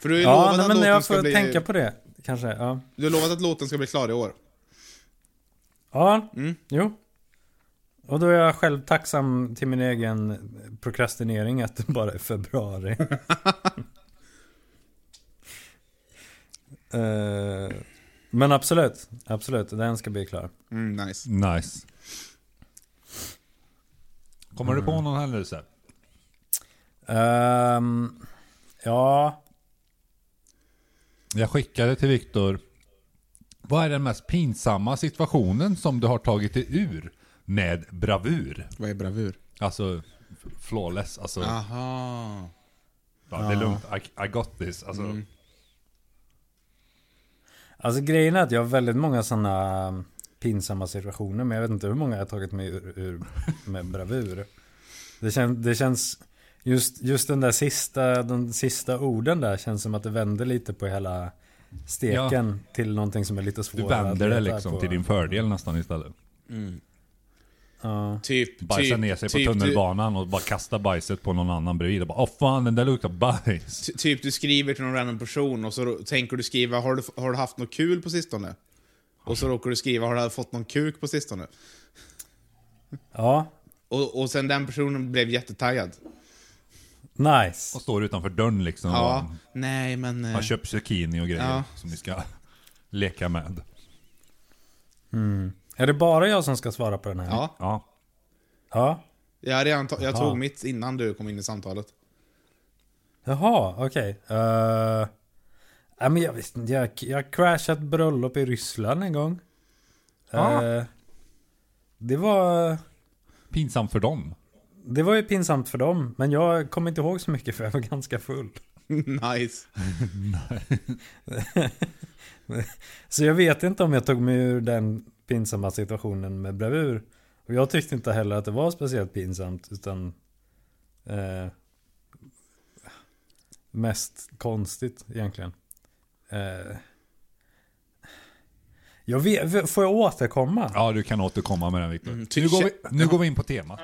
[SPEAKER 1] För du har ju
[SPEAKER 3] Ja,
[SPEAKER 1] lovat
[SPEAKER 3] nej,
[SPEAKER 1] att
[SPEAKER 3] men
[SPEAKER 1] låten
[SPEAKER 3] jag
[SPEAKER 1] ska
[SPEAKER 3] får
[SPEAKER 1] bli...
[SPEAKER 3] tänka på det. Kanske, ja.
[SPEAKER 1] Du har lovat att låten ska bli klar i år.
[SPEAKER 3] Ja,
[SPEAKER 1] Mm.
[SPEAKER 3] jo. Och då är jag själv tacksam till min egen prokrastinering att det bara är februari. Eh, men absolut, absolut. Den ska bli klar.
[SPEAKER 1] Mm, nice.
[SPEAKER 2] Nice. Kommer du på någon händelse?
[SPEAKER 3] Ehm, ja,
[SPEAKER 2] Jag skickade till Viktor. Vad är den mest pinsamma situationen som du har tagit dig ur med bravur?
[SPEAKER 1] Vad är bravur?
[SPEAKER 2] Alltså f- flawless. Alltså,
[SPEAKER 1] Aha.
[SPEAKER 2] ja, det är lugnt. I, I got this. Alltså,
[SPEAKER 1] Mm.
[SPEAKER 3] alltså grejen är att jag har väldigt många sådana pinsamma situationer. Men jag vet inte hur många jag har tagit mig ur, ur med bravur. Det, kän, det känns, just, just den där sista, de sista orden där känns som att det vänder lite på hela steken till någonting som är lite
[SPEAKER 2] du
[SPEAKER 3] svårare. att
[SPEAKER 2] vänder det
[SPEAKER 3] leta
[SPEAKER 2] liksom
[SPEAKER 3] på.
[SPEAKER 2] till din fördel nästan istället.
[SPEAKER 3] Ja.
[SPEAKER 1] Typ,
[SPEAKER 2] Bajsa
[SPEAKER 1] typ,
[SPEAKER 2] ner sig
[SPEAKER 1] typ,
[SPEAKER 2] på
[SPEAKER 1] du-
[SPEAKER 2] tunnelbanan och bara kasta bajset på någon annan bredvid. Och bara, åh fan den där luktar bajs.
[SPEAKER 1] Ty- Typ du skriver till någon random person och så ro- tänker du skriva har du, har du haft något kul på sistone? Och så råkar du skriva har du fått någon kuk på sistone?
[SPEAKER 3] ja,
[SPEAKER 1] Och, och sen den personen blev jättetaggad.
[SPEAKER 3] nice.
[SPEAKER 2] Och står utanför dörren liksom.
[SPEAKER 1] Ja, nej men... eh,
[SPEAKER 2] och har köpt zucchini och grejer
[SPEAKER 1] Ja.
[SPEAKER 2] som ni ska leka med.
[SPEAKER 3] Är det bara jag som ska svara på den här?
[SPEAKER 1] Ja,
[SPEAKER 2] Ja.
[SPEAKER 3] ja.
[SPEAKER 1] jag, hade redan ta- jag
[SPEAKER 3] Aha.
[SPEAKER 1] tog mitt innan du kom in i samtalet.
[SPEAKER 3] Jaha, okej. Eh, nej, men jag visste inte. Jag, jag crashade ett bröllop i Ryssland en gång.
[SPEAKER 2] Ah.
[SPEAKER 3] Eh, det var...
[SPEAKER 2] Pinsamt för dem.
[SPEAKER 3] Det var ju pinsamt för dem, men jag kommer inte ihåg så mycket för jag var ganska full.
[SPEAKER 1] nice.
[SPEAKER 3] Så jag vet inte om jag tog mig ur den pinsamma situationen med bravur. Och jag tyckte inte heller att det var speciellt pinsamt, utan... Eh, mest konstigt egentligen. Eh, jag vet, får jag återkomma?
[SPEAKER 2] Ja, du kan återkomma med den Viktor.
[SPEAKER 1] Mm, ty-
[SPEAKER 2] nu går, vi, nu går vi in på temat.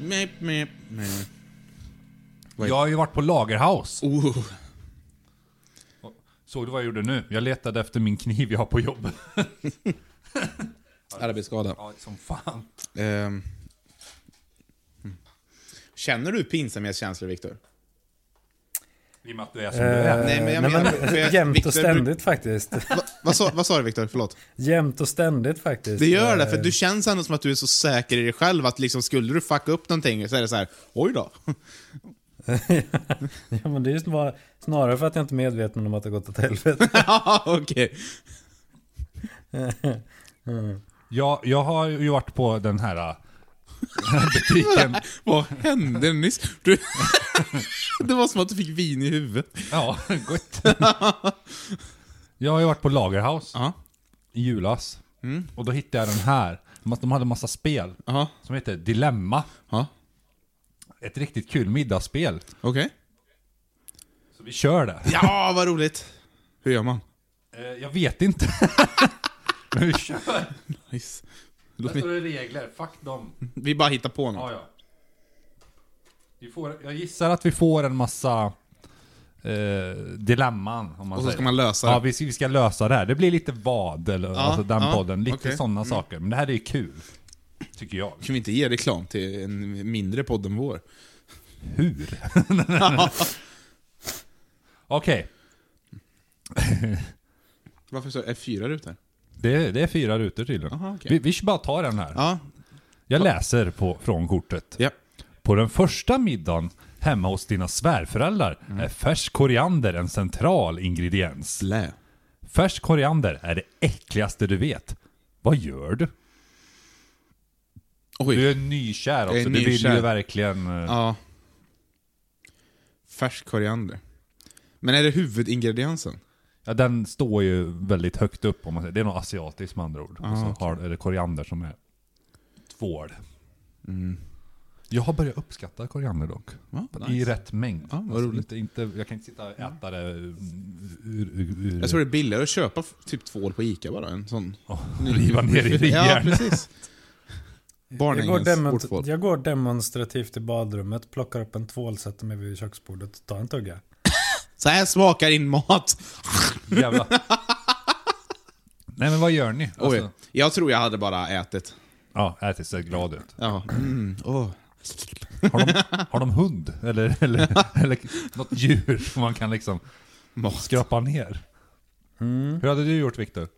[SPEAKER 1] Mep, mep, mep. Vad är-
[SPEAKER 2] Jag har ju varit på Lagerhaus.
[SPEAKER 1] Oh.
[SPEAKER 2] Såg du vad jag gjorde nu? Jag letade efter min kniv jag har på jobbet.
[SPEAKER 1] Arbetsskada.
[SPEAKER 2] Ja, som fan.
[SPEAKER 1] Ehm. Mm. Känner du pinsamhetskänslor, Viktor?
[SPEAKER 2] I och med att du är som du är.
[SPEAKER 1] nej, men jag
[SPEAKER 3] Eh,
[SPEAKER 1] menar- för jag-
[SPEAKER 3] jämt
[SPEAKER 1] Victor,
[SPEAKER 3] och
[SPEAKER 1] du-
[SPEAKER 3] ständigt faktiskt.
[SPEAKER 1] Va, vad, sa, vad sa du, Viktor? Förlåt.
[SPEAKER 3] Jämt och ständigt faktiskt.
[SPEAKER 1] Det gör det, för
[SPEAKER 3] Eh,
[SPEAKER 1] du känns ändå som att du är så säker i dig själv att liksom, skulle du fucka upp någonting så är det så här, oj då.
[SPEAKER 3] Ja men det är ju snar- snarare för att jag inte är medveten om att det har gått åt helvete.
[SPEAKER 1] Ja, Okej.
[SPEAKER 2] Jag, jag har ju varit på den här, äh, den här butiken.
[SPEAKER 1] Vad hände nyss? Du... det var som att du fick vin i huvudet.
[SPEAKER 2] Ja, gott. Jag har ju varit på Lagerhaus
[SPEAKER 1] Ja.
[SPEAKER 2] i julas.
[SPEAKER 1] Mm.
[SPEAKER 2] Och då hittade jag den här. De hade massa spel
[SPEAKER 1] Ja.
[SPEAKER 2] som heter Dilemma.
[SPEAKER 1] Ja.
[SPEAKER 2] Ett riktigt kul middagsspel.
[SPEAKER 1] Okej.
[SPEAKER 2] Så vi kör det.
[SPEAKER 1] Ja, vad roligt. Hur gör man?
[SPEAKER 2] Eh, Jag vet inte. Men vi kör.
[SPEAKER 1] Nice.
[SPEAKER 2] Där
[SPEAKER 1] Låt mig...
[SPEAKER 2] står det regler, fuck dem.
[SPEAKER 1] Vi bara hittar på
[SPEAKER 2] Ja,
[SPEAKER 1] något.
[SPEAKER 2] ja. Vi får, jag gissar att vi får en massa eh, dilemman. Om man
[SPEAKER 1] Och så
[SPEAKER 2] säger.
[SPEAKER 1] ska man lösa det.
[SPEAKER 2] Ja, vi, ska- vi ska lösa det här. Det blir lite vad, eller alltså den
[SPEAKER 1] ja,
[SPEAKER 2] podden. Lite
[SPEAKER 1] okej. Mm.
[SPEAKER 2] sådana saker. Men det här är ju kul. Tycker jag.
[SPEAKER 1] Kan vi inte ge reklam till en mindre podd än vår?
[SPEAKER 2] Hur? Okej,
[SPEAKER 1] Varför så är fyra rutor?
[SPEAKER 2] det, det är fyra rutor tydligen.
[SPEAKER 1] Aha, okej.
[SPEAKER 2] vi, vi ska bara ta den här.
[SPEAKER 1] Ja.
[SPEAKER 2] Jag läser på, från kortet.
[SPEAKER 1] ja.
[SPEAKER 2] På den första middagen hemma hos dina svärföräldrar
[SPEAKER 1] Mm.
[SPEAKER 2] är färsk koriander en central ingrediens.
[SPEAKER 1] Lä.
[SPEAKER 2] Färsk koriander är det äckligaste du vet. Vad gör du?
[SPEAKER 1] Oj.
[SPEAKER 2] Du är nykär
[SPEAKER 1] Jag är
[SPEAKER 2] också, du vill
[SPEAKER 1] nykär.
[SPEAKER 2] ju verkligen... eh,
[SPEAKER 1] Ja. Färsk koriander. Men är det huvudingrediensen?
[SPEAKER 2] Ja, den står ju väldigt högt upp om man säger. Det är nog asiatiskt med andra ord.
[SPEAKER 1] Ah,
[SPEAKER 2] och så
[SPEAKER 1] okej.
[SPEAKER 2] har, är det koriander som är tvål.
[SPEAKER 1] Mm.
[SPEAKER 2] Jag har börjat uppskatta koriander dock.
[SPEAKER 1] Ja,
[SPEAKER 2] I
[SPEAKER 1] nice.
[SPEAKER 2] rätt mängd. Alltså,
[SPEAKER 1] Ja, vad roligt.
[SPEAKER 2] inte, inte, jag kan inte sitta och äta det ur... ur, ur, ur
[SPEAKER 1] Jag tror det är billigare att köpa f- typ tvål på Ica bara. En sån.
[SPEAKER 2] och riva ner i
[SPEAKER 1] Ja,
[SPEAKER 2] hjärnan.
[SPEAKER 1] precis.
[SPEAKER 3] Jag går,
[SPEAKER 1] Barnängens
[SPEAKER 3] demont-
[SPEAKER 1] ortfolk.
[SPEAKER 3] jag går demonstrativt till badrummet, plockar upp en tvål, sätter mig vid köksbordet och tar en tugga.
[SPEAKER 1] Så här smakar din mat.
[SPEAKER 2] Jävlar. Nej men vad gör ni? Alltså,
[SPEAKER 1] Oj, jag tror jag hade bara ätit.
[SPEAKER 2] ja, ätit ser glad ut.
[SPEAKER 1] Ja. Mm, åh.
[SPEAKER 2] Har de, har de hund? Eller, eller, eller något djur som man kan liksom
[SPEAKER 1] Mat.
[SPEAKER 2] skrapa ner? Hur hade du gjort Viktor?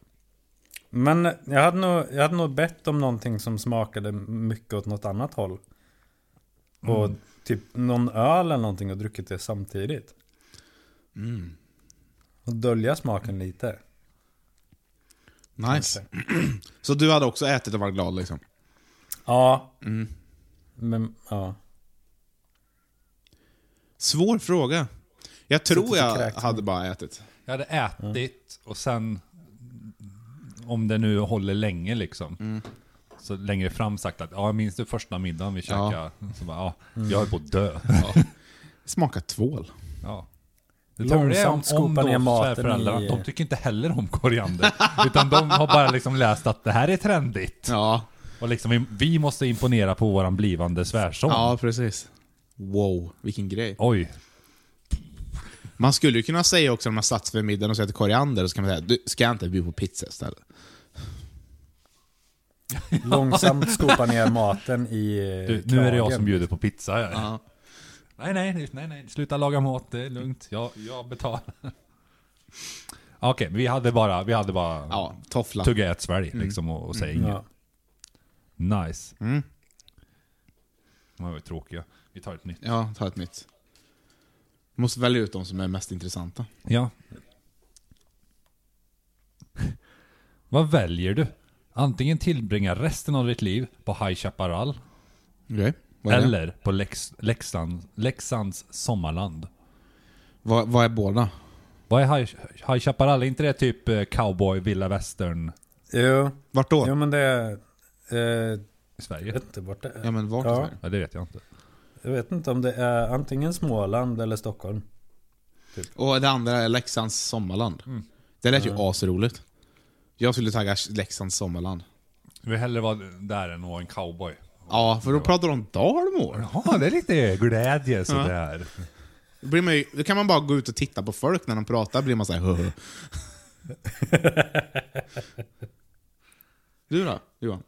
[SPEAKER 3] Men jag hade, nog, jag hade nog bett om någonting som smakade mycket åt något annat håll. Och
[SPEAKER 2] Mm.
[SPEAKER 3] typ någon öl eller någonting och druckit det samtidigt.
[SPEAKER 2] Mm.
[SPEAKER 3] Och dölja smaken lite.
[SPEAKER 1] Nice. Så du hade också ätit och varit glad liksom?
[SPEAKER 3] Ja. Mm. Men, ja.
[SPEAKER 1] Svår fråga. Jag
[SPEAKER 3] Suttit
[SPEAKER 1] tror
[SPEAKER 3] och
[SPEAKER 1] jag
[SPEAKER 3] kräkts.
[SPEAKER 1] hade bara ätit.
[SPEAKER 2] Jag hade ätit och sen, om det nu håller länge liksom, så längre fram sagt att ja, jag minns du första middagen vi
[SPEAKER 1] Ja.
[SPEAKER 2] käkade? Så bara, ja, Mm. jag höll på att dö.
[SPEAKER 1] Smaka tvål.
[SPEAKER 2] Ja.
[SPEAKER 3] Långsamt
[SPEAKER 2] Törliga är om-
[SPEAKER 3] skopa
[SPEAKER 2] om då
[SPEAKER 3] ner maten
[SPEAKER 2] svärföräldrarna,
[SPEAKER 3] i-
[SPEAKER 2] De tycker inte heller om koriander. utan de har bara liksom läst att det här är trendigt.
[SPEAKER 1] Ja,
[SPEAKER 2] Och liksom, vi, vi måste imponera på våran blivande svärson.
[SPEAKER 1] ja precis. Wow, vilken grej.
[SPEAKER 2] Oj.
[SPEAKER 1] Man skulle ju kunna säga också när man satt vid middagen och så äter koriander, så kan man säga du, ska jag inte bjuda på pizza istället?
[SPEAKER 3] Långsamt skopa ner maten i eh,
[SPEAKER 2] Du, nu är det jag
[SPEAKER 3] kragen.
[SPEAKER 2] som bjuder på pizza. här. Nej, nej, nej, nej. Sluta laga mat. Det är lugnt. Jag, jag betalar. Okej, men vi hade bara, vi hade bara
[SPEAKER 1] Ja, toffla.
[SPEAKER 2] tugga ett svälj
[SPEAKER 3] Mm.
[SPEAKER 2] liksom och, och säga inget.
[SPEAKER 3] Ja.
[SPEAKER 2] Nice.
[SPEAKER 1] Mm.
[SPEAKER 2] De här var ju tråkiga. Vi tar ett nytt.
[SPEAKER 1] Ja, ta ett nytt. Måste välja ut de som är mest intressanta.
[SPEAKER 2] Ja. Vad väljer du? Antingen tillbringa resten av ditt liv på High Chaparral
[SPEAKER 1] Okej. Vad är, det?
[SPEAKER 2] eller på Lex, Leksand, Leksands sommarland.
[SPEAKER 1] Vad, vad är båda?
[SPEAKER 2] Vad är High, High Chaparral? Är inte det typ eh, cowboy, vilda västern
[SPEAKER 3] Jo,
[SPEAKER 1] Vart då?
[SPEAKER 3] jo, men det är... Eh,
[SPEAKER 2] i
[SPEAKER 3] jag
[SPEAKER 2] Sverige?
[SPEAKER 3] vet inte vart det är.
[SPEAKER 1] Ja, men vart i
[SPEAKER 3] Ja.
[SPEAKER 1] Sverige?
[SPEAKER 2] Ja, det vet jag inte.
[SPEAKER 3] Jag vet inte om det är antingen Småland eller Stockholm.
[SPEAKER 1] Och det andra är Leksands sommarland. Det lät ju asroligt. Jag skulle tagga Leksands sommarland.
[SPEAKER 2] Du vill hellre vara där än att vara en cowboy.
[SPEAKER 1] Ja, för då pratar de dalmål.
[SPEAKER 2] Jaha, det är lite glädje sådär.
[SPEAKER 1] Då, blir man ju, då kan man bara gå ut och titta på folk när de pratar, blir man såhär "Hö, hö." Du då, Johan?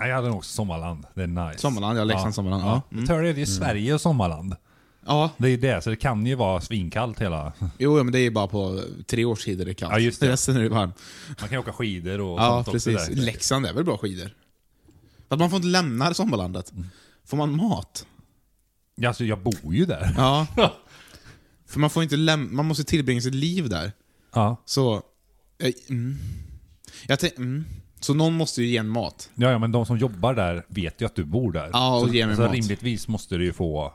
[SPEAKER 2] Nej, jag hade nog också sommarland. Det är nice.
[SPEAKER 1] Sommarland, ja, Leksands sommarland, ja. Mm.
[SPEAKER 2] Tur är det ju Sverige och sommarland.
[SPEAKER 1] Ja,
[SPEAKER 2] Det är ju det, så det kan ju vara svinkallt hela...
[SPEAKER 1] jo ja, men det är ju bara på tre års tid är det kallt.
[SPEAKER 2] Ja, just det.
[SPEAKER 1] Resten är det varmt.
[SPEAKER 2] Man kan ju åka skidor och
[SPEAKER 1] Ja,
[SPEAKER 2] sånt också
[SPEAKER 1] precis.
[SPEAKER 2] där.
[SPEAKER 1] Leksand är väl bra skidor? Att man får inte lämna sommarlandet. Får man mat?
[SPEAKER 2] Ja, Alltså, jag bor ju där.
[SPEAKER 1] Ja. För man får inte lämna, man måste tillbringa sitt liv där.
[SPEAKER 2] Ja,
[SPEAKER 1] Så... eh, Mm. Jag tänk, mm. Så någon måste ju ge en mat.
[SPEAKER 2] ja, ja men de som jobbar där vet ju att du bor där.
[SPEAKER 1] Ja, och
[SPEAKER 2] så,
[SPEAKER 1] ger mig
[SPEAKER 2] så
[SPEAKER 1] mat. Mm.
[SPEAKER 2] rimligtvis måste du ju få...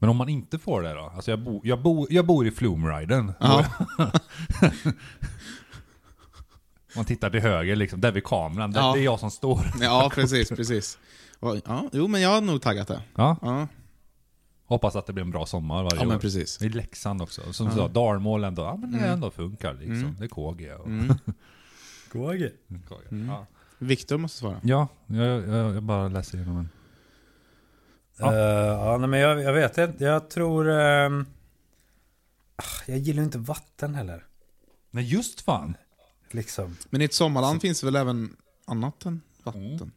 [SPEAKER 2] Men om man inte får det då? Alltså jag, bo, jag, bo, jag bor i Flumriden.
[SPEAKER 1] Ja.
[SPEAKER 2] Man tittar till höger liksom, där vid kameran. Där,
[SPEAKER 1] Ja.
[SPEAKER 2] Det är jag som står.
[SPEAKER 1] Ja, precis, precis. Och- Ja, jo, men jag har nog taggat det.
[SPEAKER 2] Ja.
[SPEAKER 1] Ja,
[SPEAKER 2] Hoppas att det blir en bra sommar varje
[SPEAKER 1] ja
[SPEAKER 2] år.
[SPEAKER 1] men precis. Mm.
[SPEAKER 2] I Leksand också. Som du sa, Dalmål ändå. Ja men det ändå funkar liksom. Det är KG. Och,
[SPEAKER 3] Gåge.
[SPEAKER 1] Mm.
[SPEAKER 2] KG. Ja.
[SPEAKER 1] Viktor måste svara.
[SPEAKER 2] Ja, jag, jag, jag bara läser igenom den. Ja.
[SPEAKER 3] Ja, Eh, ja nej, men jag, jag vet inte. Jag tror... ehm, ah, jag gillar ju inte vatten heller.
[SPEAKER 2] Nej just fan!
[SPEAKER 3] Liksom.
[SPEAKER 1] Men i ett sommarland finns väl även annat än vatten?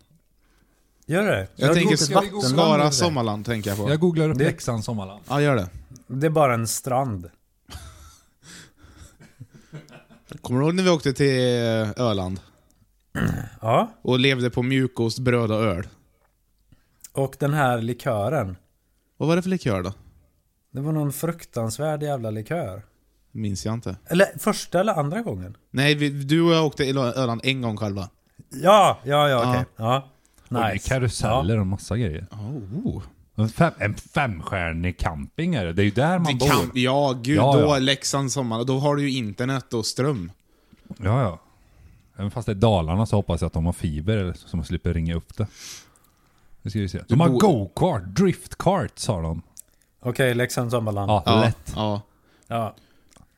[SPEAKER 3] Gör det?
[SPEAKER 1] Jag,
[SPEAKER 3] har
[SPEAKER 1] tänker
[SPEAKER 3] gått ett
[SPEAKER 1] ska,
[SPEAKER 2] googla-
[SPEAKER 3] vattenland över
[SPEAKER 1] Skara
[SPEAKER 3] det.
[SPEAKER 1] sommarland, tänker jag på.
[SPEAKER 2] Jag googlar upp
[SPEAKER 3] Det-
[SPEAKER 2] Leksands sommarland.
[SPEAKER 1] Ja, gör det.
[SPEAKER 3] Det är bara en strand.
[SPEAKER 1] Kommer du ihåg när vi åkte till eh, Öland?
[SPEAKER 3] Ja.
[SPEAKER 1] Och levde på mjukost, bröd och öl?
[SPEAKER 3] Och den här likören.
[SPEAKER 1] Vad var det för likör då?
[SPEAKER 3] Det var någon fruktansvärd jävla likör.
[SPEAKER 1] Minns jag inte.
[SPEAKER 3] Eller första eller andra gången?
[SPEAKER 1] Nej, vi, du och jag åkte till Öland en gång själva.
[SPEAKER 3] Ja, ja, ja,
[SPEAKER 1] Ja.
[SPEAKER 3] okej. Ja.
[SPEAKER 2] Och det är
[SPEAKER 3] Nice.
[SPEAKER 2] karuseller och massa grejer.
[SPEAKER 1] Oh.
[SPEAKER 2] En Fem, en femstjärnig camping är det. Det är ju där man
[SPEAKER 1] Det
[SPEAKER 2] bor.
[SPEAKER 1] kan, ja, gud.
[SPEAKER 2] Ja,
[SPEAKER 1] då
[SPEAKER 2] ja.
[SPEAKER 1] Leksand sommar, då har du ju internet och ström.
[SPEAKER 2] Ja, ja. Även fast det är Dalarna så hoppas jag att de har fiber eller så så man slipper ringa upp det. Nu ska vi se. De
[SPEAKER 1] Du
[SPEAKER 2] har
[SPEAKER 1] bor-
[SPEAKER 2] go-kart, drift-kart sa de.
[SPEAKER 3] Okej, Leksand Sommarland.
[SPEAKER 2] Ja,
[SPEAKER 1] Ja,
[SPEAKER 2] lätt.
[SPEAKER 1] ja.
[SPEAKER 3] Ja.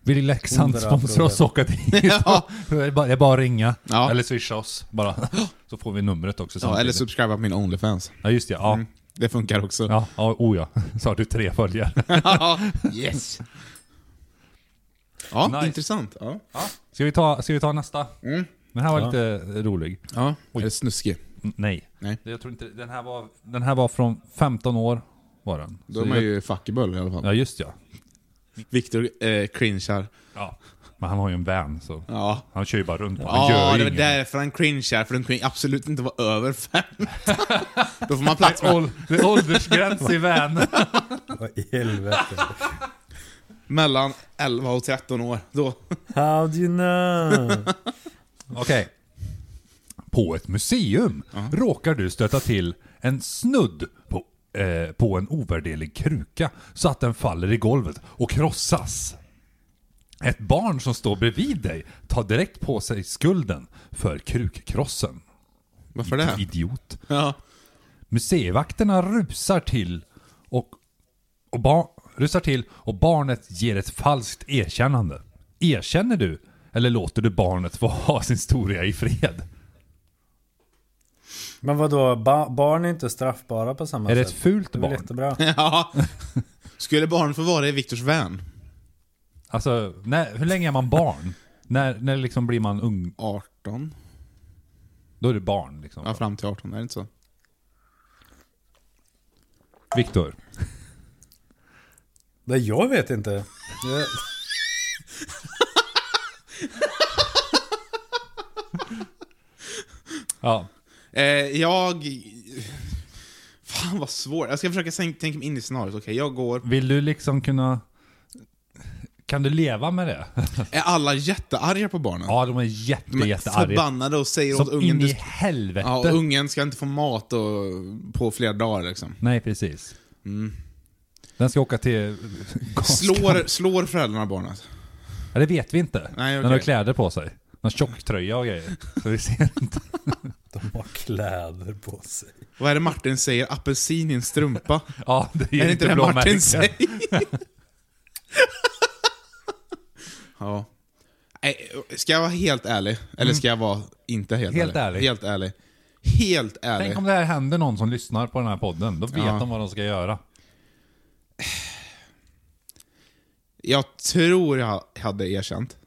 [SPEAKER 2] Vill Leksand
[SPEAKER 3] Hundra
[SPEAKER 2] sponsra oss och åka dit?
[SPEAKER 1] Ja.
[SPEAKER 2] Det är bara- det är bara att ringa.
[SPEAKER 1] Ja.
[SPEAKER 2] Eller swisha oss bara. Så får vi numret också
[SPEAKER 1] ja
[SPEAKER 2] samtidigt.
[SPEAKER 1] eller Mm. subscriba på min Onlyfans.
[SPEAKER 2] Ja, just det. Ja.
[SPEAKER 1] Det funkar också.
[SPEAKER 2] Ja, ja, oh ja. Så har du tre följare.
[SPEAKER 1] yes! Ja,
[SPEAKER 2] Nice.
[SPEAKER 1] intressant. Ja.
[SPEAKER 2] Ska vi ta, ska vi ta nästa?
[SPEAKER 1] Mm.
[SPEAKER 2] Den här var lite rolig.
[SPEAKER 1] Ja. Är det snuskig?
[SPEAKER 2] Mm, Nej.
[SPEAKER 1] Nej.
[SPEAKER 2] Jag tror inte, den, här var, den här var från 15 år. Var den.
[SPEAKER 1] Då
[SPEAKER 2] Så
[SPEAKER 1] är man
[SPEAKER 2] jag-
[SPEAKER 1] ju fuckable i alla fall.
[SPEAKER 2] Ja, just ja.
[SPEAKER 1] Viktor eh, cringear.
[SPEAKER 2] ja. Men han har ju en van så.
[SPEAKER 1] Ja.
[SPEAKER 2] Han kör ju bara runt på den.
[SPEAKER 1] Ja,
[SPEAKER 2] Han gör
[SPEAKER 1] det
[SPEAKER 2] ju
[SPEAKER 1] var
[SPEAKER 2] inget.
[SPEAKER 1] därför han cringear, för den kunde absolut inte vara över fem. Då får man plats med.
[SPEAKER 2] Ål- Det är åldersgräns i van.
[SPEAKER 3] Vad i helvete.
[SPEAKER 1] mellan 11 och 13 år. Då.
[SPEAKER 3] How do you know?
[SPEAKER 2] Okej. På ett museum råkar du stöta till en snudd på, eh, på en ovärderlig kruka så att den faller i golvet och krossas. Ett barn som står bredvid dig tar direkt på sig skulden för krukkrossen.
[SPEAKER 1] Varför det?
[SPEAKER 2] Idiot.
[SPEAKER 1] Ja.
[SPEAKER 2] Museivakterna rusar till och, och, bar, rusar till och barnet ger ett falskt erkännande. Erkänner du eller låter du barnet få ha sin historia i fred?
[SPEAKER 3] Men vadå, ba- barn är inte straffbara på samma
[SPEAKER 2] Är det
[SPEAKER 3] sätt.
[SPEAKER 2] ett fult
[SPEAKER 3] Det är väl
[SPEAKER 2] barn?
[SPEAKER 3] jättebra.
[SPEAKER 1] ja. Skulle barn få vara i Viktors vän?
[SPEAKER 2] Alltså, när, hur länge är man barn? när, när liksom blir man ung?
[SPEAKER 1] 18?
[SPEAKER 2] Då är du barn liksom.
[SPEAKER 1] Ja, fram till 18. Är det inte så?
[SPEAKER 2] Viktor.
[SPEAKER 3] Nej, jag vet inte. Jag...
[SPEAKER 2] Ja.
[SPEAKER 1] Eh, jag... Fan vad svårt. Jag ska försöka sänk- tänka mig in i scenariot. Okej, jag går...
[SPEAKER 2] Vill du liksom kunna... Kan du leva med det?
[SPEAKER 1] Är alla jättearga på barnen?
[SPEAKER 2] ja, de är jätte,
[SPEAKER 1] De är
[SPEAKER 2] jättearga.
[SPEAKER 1] förbannade och säger åt
[SPEAKER 2] Som
[SPEAKER 1] ungen...
[SPEAKER 2] in i
[SPEAKER 1] Du...
[SPEAKER 2] helvete.
[SPEAKER 1] Ja, och ungen ska inte få mat och... på flera dagar liksom.
[SPEAKER 2] Nej, precis.
[SPEAKER 1] Mm.
[SPEAKER 2] Den ska åka till...
[SPEAKER 1] Slår, slår föräldrarna barnet?
[SPEAKER 2] Ja, det vet vi inte.
[SPEAKER 1] Nej,
[SPEAKER 2] Den har
[SPEAKER 1] okej.
[SPEAKER 2] kläder på sig. Någon tjocktröja och grejer. Så vi ser inte.
[SPEAKER 3] De har kläder på sig.
[SPEAKER 1] Vad är det Martin säger? Apelsin i en strumpa?
[SPEAKER 2] Ja, det är,
[SPEAKER 1] är det inte det
[SPEAKER 2] inte
[SPEAKER 1] Martin
[SPEAKER 2] blåmärken.
[SPEAKER 1] säger? ja. Nej, Ska jag vara helt ärlig? Eller ska jag vara inte helt,
[SPEAKER 2] Mm. Helt ärlig.
[SPEAKER 1] Helt ärlig. Helt ärlig.
[SPEAKER 2] Tänk om det här händer någon som lyssnar på den här podden. Då vet
[SPEAKER 1] Ja.
[SPEAKER 2] de vad de ska göra.
[SPEAKER 1] Jag tror jag hade erkänt.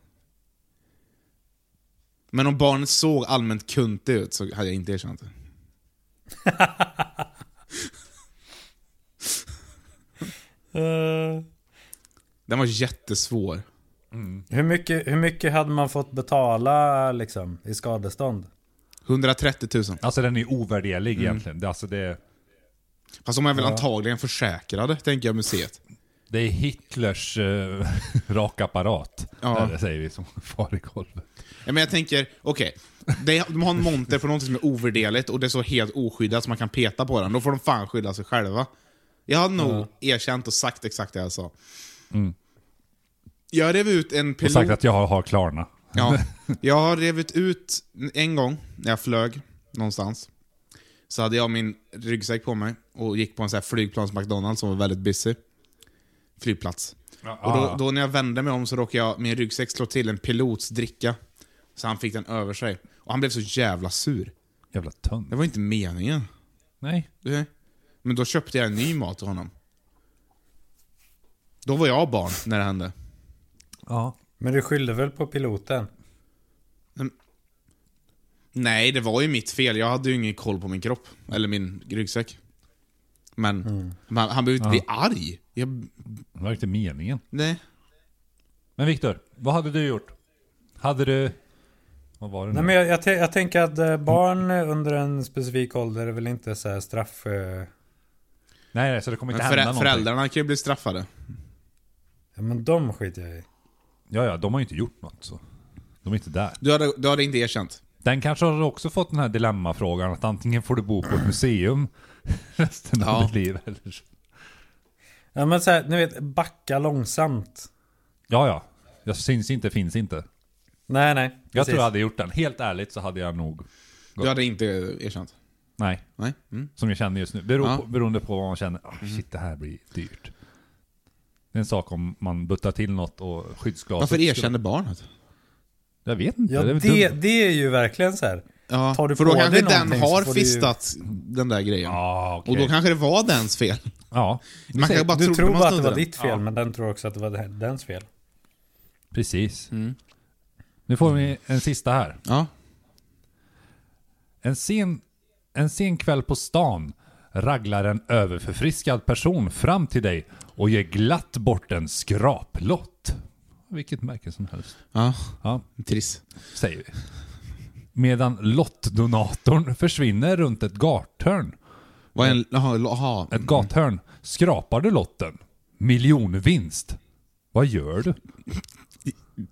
[SPEAKER 1] Men om barnet såg allmänt kunt ut så hade jag inte erkänt det.
[SPEAKER 3] Eh,
[SPEAKER 1] Den var jättesvår.
[SPEAKER 3] hur, mycket, hur mycket hade man fått betala liksom, i skadestånd?
[SPEAKER 1] 130 000.
[SPEAKER 2] Alltså den är ju ovärderlig
[SPEAKER 1] Mm.
[SPEAKER 2] egentligen. Det, alltså det,
[SPEAKER 1] Fast de är väl antagligen försäkrade, tänker jag museet.
[SPEAKER 2] det är Hitlers eh, rakapparat.
[SPEAKER 1] Ja.
[SPEAKER 2] Ja. Det säger vi som far i golvet.
[SPEAKER 1] Ja, men jag tänker, okej. Det- De har en monter på någonting som är ovärderligt och det är så helt oskyddat så man kan peta på den. Då får de fan skydda sig själva. Jag hade nog erkänt och sagt exakt det jag sa. Jag rev ut en
[SPEAKER 2] Mm. Och
[SPEAKER 1] pilot...
[SPEAKER 2] sagt att jag har, har Klarna.
[SPEAKER 1] Ja, jag har revit ut en gång när jag flög någonstans. Så hade jag min ryggsäck på mig och gick på en sån här flygplans McDonalds som var väldigt busy. Flygplats. Och då, då när jag vände mig om så råkade jag, min ryggsäck slå till en pilots dricka. Så han fick den över sig. Och han blev så jävla sur.
[SPEAKER 2] Jävla
[SPEAKER 1] Det
[SPEAKER 2] tönt.
[SPEAKER 1] var inte meningen.
[SPEAKER 2] Nej.
[SPEAKER 1] Du vet. Men då köpte jag en ny mat till honom. Då var jag barn när det hände.
[SPEAKER 2] Ja.
[SPEAKER 3] Men du skyllde väl på piloten?
[SPEAKER 1] Nej, det var ju mitt fel. Jag hade ju ingen koll på min kropp. Eller min ryggsäck. Men
[SPEAKER 3] Mm.
[SPEAKER 1] man, han behövde inte bli arg. Jag,
[SPEAKER 2] Det var inte meningen.
[SPEAKER 1] nej.
[SPEAKER 2] Men Viktor, vad hade du gjort? Hade du... Vad var det nu?
[SPEAKER 3] Nej, men jag, jag, tän- jag tänker att eh, barn under en specifik ålder är väl inte så här straff... eh,
[SPEAKER 2] nej, nej, så det kommer
[SPEAKER 1] Men
[SPEAKER 2] inte
[SPEAKER 1] förä-
[SPEAKER 2] hända någonting.
[SPEAKER 1] föräldrarna kan ju bli straffade.
[SPEAKER 3] Ja, men de skiter jag i.
[SPEAKER 2] Ja, ja, de har ju inte gjort något så. De är inte där.
[SPEAKER 1] Du hade, du hade inte erkänt.
[SPEAKER 2] Den kanske har också fått den här dilemmafrågan att antingen får du bo på ett museum resten av
[SPEAKER 1] Ja.
[SPEAKER 2] ditt liv eller så.
[SPEAKER 3] Ja men såhär, ni vet backa långsamt.
[SPEAKER 2] Ja, ja. Jag syns inte, finns inte.
[SPEAKER 3] Nej nej.
[SPEAKER 2] Jag
[SPEAKER 3] precis.
[SPEAKER 2] tror jag hade gjort den. Helt ärligt så hade jag nog...
[SPEAKER 1] Du hade inte erkänt?
[SPEAKER 2] Nej,
[SPEAKER 1] Nej? Mm.
[SPEAKER 2] som jag känner just nu. Bero
[SPEAKER 1] Ja.
[SPEAKER 2] på, beroende på vad man känner. Ah, shit, det här blir dyrt. Det är en sak om man buttar till något och skyddsglaset...
[SPEAKER 1] Varför
[SPEAKER 2] skulle-
[SPEAKER 1] erkände barnet?
[SPEAKER 2] Jag vet inte.
[SPEAKER 3] Ja
[SPEAKER 2] det är
[SPEAKER 3] det,
[SPEAKER 2] väl
[SPEAKER 3] det,
[SPEAKER 2] dumt.
[SPEAKER 3] är ju verkligen så här.
[SPEAKER 1] Ja,
[SPEAKER 3] Tar du
[SPEAKER 1] för då
[SPEAKER 3] på
[SPEAKER 1] kanske
[SPEAKER 3] dig
[SPEAKER 1] den
[SPEAKER 3] någonting så
[SPEAKER 1] har
[SPEAKER 3] får du ju-
[SPEAKER 1] fistat den där grejen.
[SPEAKER 2] Ja, okej.
[SPEAKER 1] Och då kanske det var dens fel.
[SPEAKER 2] Ja,
[SPEAKER 1] Man kan bara
[SPEAKER 3] Du
[SPEAKER 1] trodde
[SPEAKER 3] tror
[SPEAKER 1] man
[SPEAKER 3] bara att det
[SPEAKER 1] snodde
[SPEAKER 3] var
[SPEAKER 1] den.
[SPEAKER 3] ditt fel men den tror också att det var den- dens fel.
[SPEAKER 2] precis. Nu får vi en sista här.
[SPEAKER 1] Ja.
[SPEAKER 2] En sen, en sen kväll på stan raglar en överförfriskad person fram till dig och ger glatt bort en skraplott. Vilket märke som helst.
[SPEAKER 1] ja.
[SPEAKER 2] Ja,
[SPEAKER 1] Triss.
[SPEAKER 2] säger vi. Medan lottdonatorn försvinner runt ett gathörn.
[SPEAKER 1] Vad är en... Jaha, jaha.
[SPEAKER 2] Ett gathörn. Skrapar du lotten? Miljonvinst. Vad gör du?